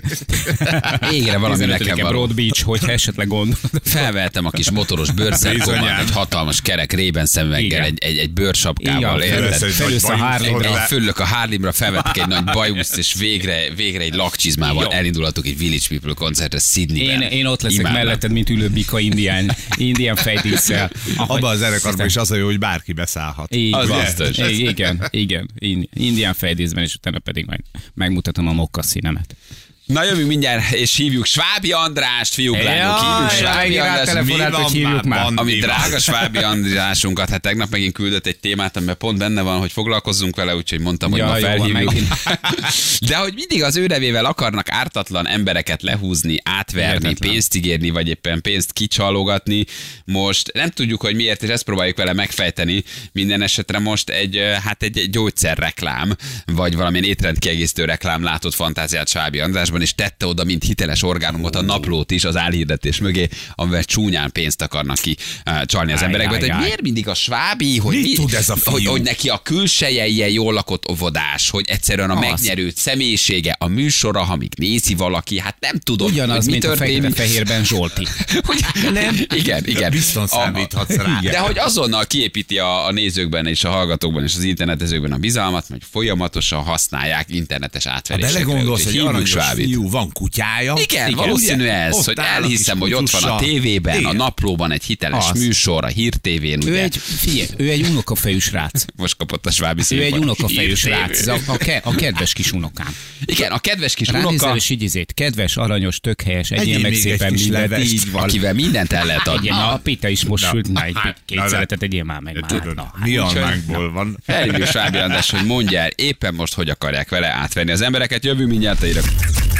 [SPEAKER 2] Végre valami nekem
[SPEAKER 4] 15-e
[SPEAKER 2] van.
[SPEAKER 4] Broad Beach, hogyha esetleg gondolod.
[SPEAKER 2] Felveltem a kis motoros bőrszerkommal,
[SPEAKER 3] Bizonyám.
[SPEAKER 2] egy hatalmas kerek rében szemüveggel,
[SPEAKER 4] Igen.
[SPEAKER 2] egy, egy, egy bőrsapkával,
[SPEAKER 4] Igen,
[SPEAKER 2] érted?
[SPEAKER 3] Először egy
[SPEAKER 4] Felülsz
[SPEAKER 3] nagy
[SPEAKER 4] a
[SPEAKER 3] bajuszt
[SPEAKER 4] Harley-re.
[SPEAKER 2] Én
[SPEAKER 3] hozzá.
[SPEAKER 2] föllök a Harlemra, felvettek egy nagy bajuszt, és végre, végre egy lakcsizmával elindulatok egy Village People koncertre
[SPEAKER 4] Én,
[SPEAKER 2] Sydneyben.
[SPEAKER 4] én ott leszek
[SPEAKER 2] Imádnám.
[SPEAKER 4] melletted, mint ülő bika indián, indián fejdíszel.
[SPEAKER 3] Abba az zenekarban
[SPEAKER 4] Aztán-
[SPEAKER 3] is az a jó, hogy bárki beszállhat.
[SPEAKER 4] Így
[SPEAKER 2] Az
[SPEAKER 4] van.
[SPEAKER 2] biztos.
[SPEAKER 4] I- Igen, igen. In- Indián fejdíszben, és utána pedig majd megmutatom a mokka színemet.
[SPEAKER 2] Na jövünk mindjárt, és hívjuk Svábi Andrást, fiúk, lányok, hívjuk Svábi Andrást.
[SPEAKER 3] telefonál,
[SPEAKER 4] telefonáltak,
[SPEAKER 3] hogy
[SPEAKER 4] hívjuk már.
[SPEAKER 2] Ami
[SPEAKER 3] Andival.
[SPEAKER 2] drága Svábi Andrásunkat, hát tegnap megint küldött egy témát, amiben pont benne van, hogy foglalkozzunk vele, úgyhogy mondtam, hogy
[SPEAKER 4] Ja,
[SPEAKER 2] ma
[SPEAKER 4] jó,
[SPEAKER 2] felhívjuk.
[SPEAKER 4] megint.
[SPEAKER 2] [LAUGHS] De hogy mindig az ő nevével akarnak ártatlan embereket lehúzni, átverni,
[SPEAKER 4] Hihetetlen.
[SPEAKER 2] pénzt ígérni, vagy éppen pénzt kicsalogatni. Most nem tudjuk, hogy miért, és ezt próbáljuk vele megfejteni. Minden esetre most egy, ö, hát egy egy gyógyszerreklám, vagy valamilyen étrendkiegészítő reklám látott fantáziát Sábi Andrásban, és tette oda, mint hiteles orgánumot a naplót is az álhirdetés mögé, amivel csúnyán pénzt akarnak ki ö, csalni az
[SPEAKER 4] Áj,
[SPEAKER 2] emberekbe.
[SPEAKER 4] áj,
[SPEAKER 2] Tehát, Hogy
[SPEAKER 4] áj.
[SPEAKER 2] miért mindig a Svábi, hogy,
[SPEAKER 3] Mit tud ez a fiú?
[SPEAKER 2] hogy, hogy neki a külseje ilyen jól lakott óvodás, hogy egyszerűen a megnyerőt személyisége, a műsora, ha még nézi valaki, hát nem tudom,
[SPEAKER 4] Ugyanaz,
[SPEAKER 2] hogy mi
[SPEAKER 4] mint a
[SPEAKER 2] történik.
[SPEAKER 4] fekete-fehérben Zsolti.
[SPEAKER 2] Hogy, nem? Igen, igen.
[SPEAKER 3] Bizton számíthatsz rá.
[SPEAKER 2] De hogy azonnal kiépíti a, a nézőkben és a hallgatókban és az internetezőkben a bizalmat, hogy folyamatosan használják internetes
[SPEAKER 3] Ha
[SPEAKER 2] átverésekre.
[SPEAKER 3] belegondolsz,
[SPEAKER 2] Úgyhogy
[SPEAKER 3] hogy
[SPEAKER 2] hívjuk
[SPEAKER 3] aranyos
[SPEAKER 2] Svábit.
[SPEAKER 3] fiú, van kutyája.
[SPEAKER 2] Igen, valószínű
[SPEAKER 3] ugye?
[SPEAKER 2] ez,
[SPEAKER 3] Ott
[SPEAKER 2] hogy
[SPEAKER 3] áll a
[SPEAKER 2] elhiszem,
[SPEAKER 3] kis
[SPEAKER 2] hogy ott van a
[SPEAKER 3] kutyussal.
[SPEAKER 2] tévében, a
[SPEAKER 3] Igen.
[SPEAKER 2] naplóban egy hiteles
[SPEAKER 4] Az.
[SPEAKER 2] műsor, a hírtévén,
[SPEAKER 4] Ő
[SPEAKER 2] ugye?
[SPEAKER 4] egy, figyelj, ő egy unokafejű srác.
[SPEAKER 2] Most kapott a svábi
[SPEAKER 4] Ő egy
[SPEAKER 2] színpadon.
[SPEAKER 4] unokafejű
[SPEAKER 2] Hírtévé.
[SPEAKER 4] srác. Ez A, a, ke- a kedves kis unokám.
[SPEAKER 2] Igen, a kedves kis
[SPEAKER 4] Ránézel
[SPEAKER 2] unoka,
[SPEAKER 4] és így izét. Kedves, aranyos, tök helyes, egyél
[SPEAKER 3] Egyél
[SPEAKER 4] meg
[SPEAKER 3] még egy
[SPEAKER 4] szépen
[SPEAKER 3] kis
[SPEAKER 4] mindent.
[SPEAKER 3] levest.
[SPEAKER 4] Így van.
[SPEAKER 2] akivel mindent el lehet adni.
[SPEAKER 4] Igen, na, Hát, a pita is most sült. Na, egy
[SPEAKER 3] hát,
[SPEAKER 4] két
[SPEAKER 3] na, de-
[SPEAKER 4] szeretet egyél már meg. már.
[SPEAKER 3] Tudod,
[SPEAKER 2] hát
[SPEAKER 4] Na,
[SPEAKER 3] mi
[SPEAKER 4] úgyhogy-
[SPEAKER 3] almánkból van.
[SPEAKER 2] Felhívjuk Svábi András, hogy mondjál éppen most, hogy akarják vele átvenni az embereket. Jövő mindjárt a hírek.